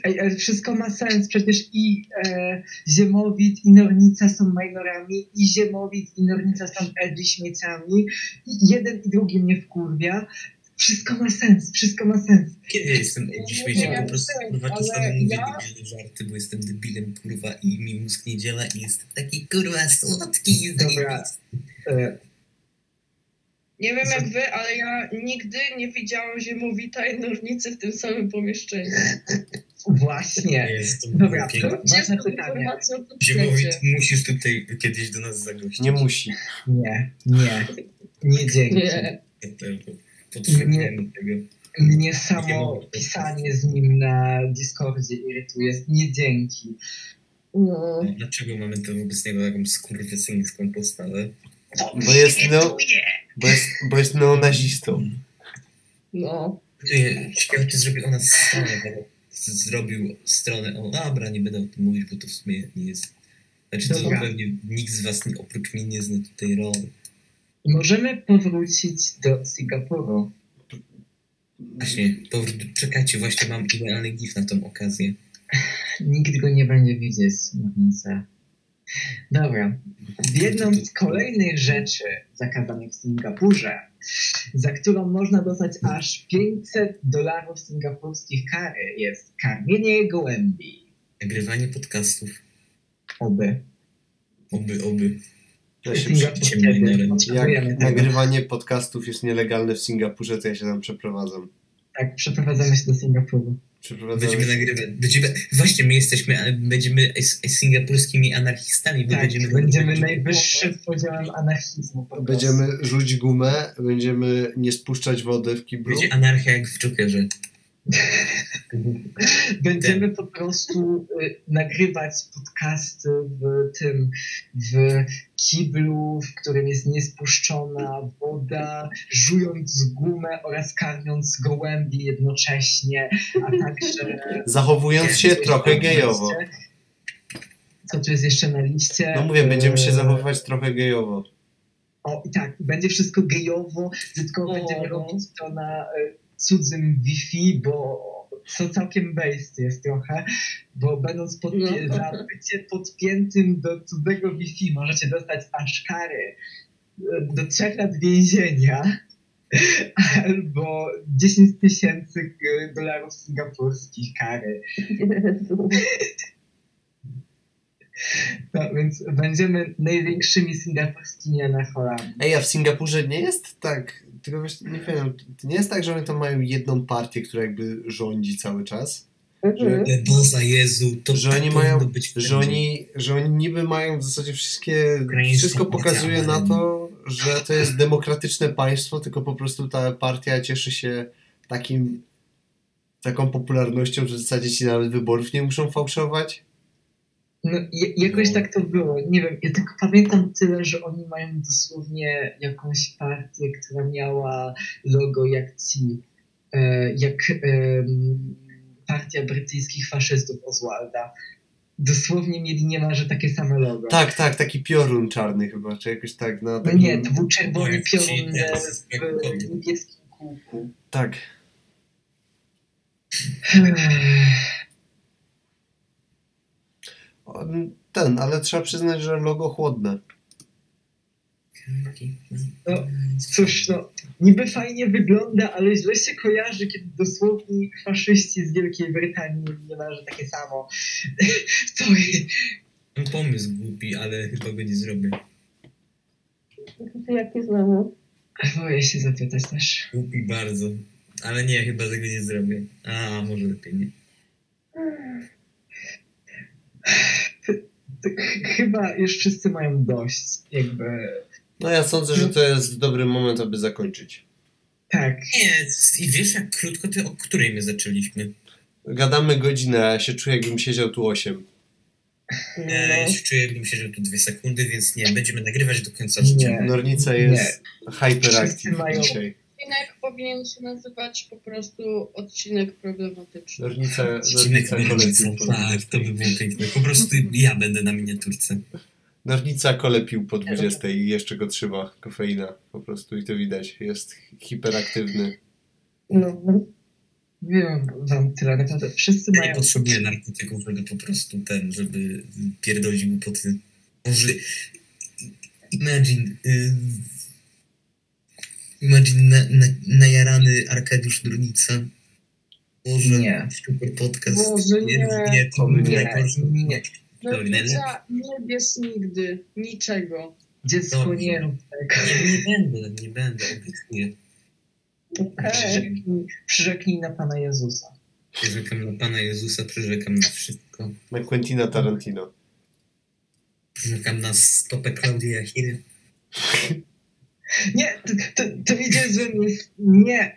Speaker 3: Ej, ale wszystko ma sens. Przecież i e, Ziemowit, i Nornica są minorami, i Ziemowit, i Nornica są edgy śmieciami. I jeden i drugi mnie wkurwia. Wszystko ma sens, wszystko ma sens.
Speaker 1: Kiedy jestem dziś śmiecie? Po prostu kurwa czasami mówię debilne żarty, bo jestem debilem kurwa i mi mózg nie działa i jestem taki kurwa słodki i
Speaker 3: Dobra.
Speaker 1: zajebisty.
Speaker 3: E,
Speaker 5: Nie wiem jak wy, ale ja nigdy nie widziałam ziemowita i nornicy w tym samym pomieszczeniu.
Speaker 3: właśnie.
Speaker 1: Jest to
Speaker 3: Dobra,
Speaker 1: piękne.
Speaker 5: Gdzie jest
Speaker 3: ważne
Speaker 5: tą
Speaker 3: pytanie.
Speaker 5: informacją o tym
Speaker 1: Ziemowit,
Speaker 5: świecie?
Speaker 1: musisz tutaj kiedyś do nas zagościć.
Speaker 2: Nie musi.
Speaker 3: Nie, nie. Nie dzięki.
Speaker 4: Nie.
Speaker 1: Potrzebujemy tego.
Speaker 3: Mnie samo pisanie z nim na Discordzie irytuje. Nie dzięki.
Speaker 4: No.
Speaker 1: Dlaczego mamy to wobec niego taką skurwysyńską postawę?
Speaker 2: Bo jest, neo, bo jest, bo jest neonazistą.
Speaker 4: No.
Speaker 1: Ciekawe, czy zrobi ona stronę z- zrobił stronę o dobra, nie będę o tym mówić, bo to w sumie nie jest. Znaczy to
Speaker 3: Dobra.
Speaker 1: pewnie nikt z was nie, oprócz mnie nie zna tej roli.
Speaker 3: Możemy powrócić do Singapuru.
Speaker 1: Właśnie, powr- czekajcie, właśnie mam idealny gif na tą okazję.
Speaker 3: Nikt go nie będzie widzieć, Marnica. Dobra. Jedną z kolejnych rzeczy zakazanych w Singapurze, za którą można dostać aż 500 dolarów singapurskich kary, jest karmienie gołębi.
Speaker 1: Nagrywanie podcastów.
Speaker 3: Oby.
Speaker 1: Oby, oby.
Speaker 2: Ja się przy...
Speaker 3: Singapur
Speaker 1: przyjdziemy
Speaker 3: wtedy
Speaker 1: na rynku.
Speaker 3: potrzebujemy
Speaker 2: Jak
Speaker 3: tego.
Speaker 2: nagrywanie podcastów jest nielegalne w Singapurze, to ja się tam przeprowadzam.
Speaker 3: Tak, przeprowadzamy się do Singapuru.
Speaker 2: Przeprowadzam
Speaker 1: Będziemy nagrywać. Będziemy, właśnie my jesteśmy, ale będziemy s- singapurskimi anarchistami, bo
Speaker 3: Tak, będziemy,
Speaker 1: będziemy.
Speaker 3: najwyższym poziomem anarchizmu. po prostu.
Speaker 2: Będziemy rzuć gumę, będziemy nie spuszczać wody w kiblu.
Speaker 1: Będzie anarchia jak w Jokerze.
Speaker 3: Będziemy po prostu y, nagrywać podcasty w tym, w kiblu, w którym jest niespuszczona woda, żując gumę oraz karmiąc gołębi jednocześnie, a także...
Speaker 2: Zachowując się trochę gejowo.
Speaker 3: Co tu jest jeszcze na liście?
Speaker 2: No mówię, będziemy
Speaker 1: Eee.
Speaker 2: się
Speaker 3: Y,
Speaker 2: zachowywać trochę gejowo.
Speaker 3: O, i tak, będzie wszystko gejowo, tylko
Speaker 4: O,
Speaker 3: będziemy
Speaker 4: no.
Speaker 3: robić to na y, cudzym Wi-Fi, bo to całkiem based jest trochę, bo będąc pod,
Speaker 4: No.
Speaker 3: za bycie podpiętym do cudzego Wi-Fi możecie dostać aż kary y, do trzech lat więzienia albo 10 tysięcy y, dolarów singapurskich kary.
Speaker 7: Jezu.
Speaker 3: No, więc będziemy największymi singapurskimi anachorami.
Speaker 2: Ej, a w Singapurze nie jest tak, tylko właśnie nie wiem, to nie jest tak, że oni tam mają jedną partię, która jakby rządzi cały czas?
Speaker 7: Mhm.
Speaker 1: Ale Boza E, Jezu, to
Speaker 2: Że
Speaker 1: tak
Speaker 2: oni
Speaker 1: powinno
Speaker 2: mają-
Speaker 1: być
Speaker 2: Że oni, że oni niby mają w zasadzie wszystkie,
Speaker 1: Ukraińską
Speaker 2: wszystko pokazuje na
Speaker 1: partię.
Speaker 2: to, że to jest demokratyczne państwo, tylko po prostu ta partia cieszy się takim, taką popularnością, że w zasadzie ci nawet wyborów nie muszą fałszować.
Speaker 3: No, je, jakoś tak to było. Nie wiem, ja tylko pamiętam tyle, że oni mają dosłownie jakąś partię, która miała logo jak ci, e, jak em, partia brytyjskich faszystów Oswalda. Dosłownie mieli niemalże takie same logo.
Speaker 2: Tak, tak, taki piorun czarny chyba, czy jakoś tak na
Speaker 3: No
Speaker 2: takim...
Speaker 3: nie, to był czerwony
Speaker 1: Powiem ci,
Speaker 3: piorun e,
Speaker 1: teraz jest jak
Speaker 3: w
Speaker 1: kobiet.
Speaker 3: niebieskim kółku.
Speaker 2: Tak.
Speaker 1: Tak.
Speaker 2: On- Ten, ale trzeba przyznać, że logo chłodne.
Speaker 3: No, Cóż, no, niby fajnie wygląda, ale źle się kojarzy, kiedy dosłowni faszyści z Wielkiej Brytanii niemalże takie samo. Sorry.
Speaker 1: Mam pomysł głupi, ale chyba go nie zrobię.
Speaker 7: To Jakie znowu?
Speaker 3: Boję się zapytać też.
Speaker 1: Głupi bardzo. Ale nie, chyba tego nie zrobię. A, może lepiej nie.
Speaker 3: Tak, ch- Chyba już wszyscy mają dość, jakby...
Speaker 2: No ja sądzę, że to jest dobry moment, aby zakończyć.
Speaker 3: Tak,
Speaker 1: Nie, i wiesz jak krótko, ty o której my zaczęliśmy?
Speaker 2: Gadamy godzinę, a ja się czuję, jakbym siedział tu 8.
Speaker 1: E, ja
Speaker 4: No.
Speaker 1: się czuję, jakbym siedział tu dwie sekundy, więc nie, będziemy nagrywać do końca
Speaker 3: Nie.
Speaker 1: życia.
Speaker 2: Nornica jest hyperactive
Speaker 3: Wszyscy mają-
Speaker 2: dzisiaj.
Speaker 5: Odcinek powinien się nazywać po prostu odcinek problematyczny.
Speaker 2: Nornica,
Speaker 1: Odcinek
Speaker 2: Nornica
Speaker 1: rodzica,
Speaker 2: kolepił
Speaker 1: tak, to by było piękne. Po prostu ja będę na miniaturce.
Speaker 2: Nornica kolepił po 20 i jeszcze go trzyma kofeina po prostu i to widać. Jest hiperaktywny.
Speaker 7: No.
Speaker 3: wiem wam tyle, naprawdę wszyscy
Speaker 1: Ja nie
Speaker 3: mają...
Speaker 1: potrzebuję narkotyków, żeby po prostu ten, żeby pierdolić głupoty. Może... Imagine... Y... Imagine na, na, najarany Arkadiusz Durnica. Może
Speaker 3: Nie.
Speaker 1: super podcast.
Speaker 4: no,
Speaker 5: Boże, nie.
Speaker 1: nie, to
Speaker 3: Nie,
Speaker 1: by najgorzej.
Speaker 3: nie.
Speaker 5: Rodzica nie wiesz nigdy niczego.
Speaker 3: Dziecko
Speaker 1: Dobrze.
Speaker 3: nie rób tego.
Speaker 1: Nie, nie będę, nie będę, obiecuję.
Speaker 7: Okej.
Speaker 3: Przyrzeknij, przyrzeknij na Pana Jezusa.
Speaker 1: Przyrzekam na Pana Jezusa, przyrzekam na wszystko.
Speaker 2: Na Quentina Tarantino.
Speaker 1: Przyrzekam na stopę Klaudii Jachiry.
Speaker 3: Nie, to, to, to idzie złym. Nie.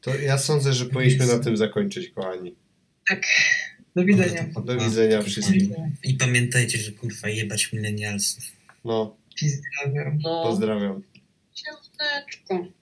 Speaker 2: To ja sądzę, że powinniśmy na tym zakończyć, kochani.
Speaker 3: Tak. Do widzenia.
Speaker 2: Do widzenia wszystkim.
Speaker 1: I pamiętajcie, że kurwa jebać milenialsów.
Speaker 2: No,
Speaker 3: Pozdrawiam.
Speaker 4: No.
Speaker 2: pozdrawiam.
Speaker 5: No, Księżneczko.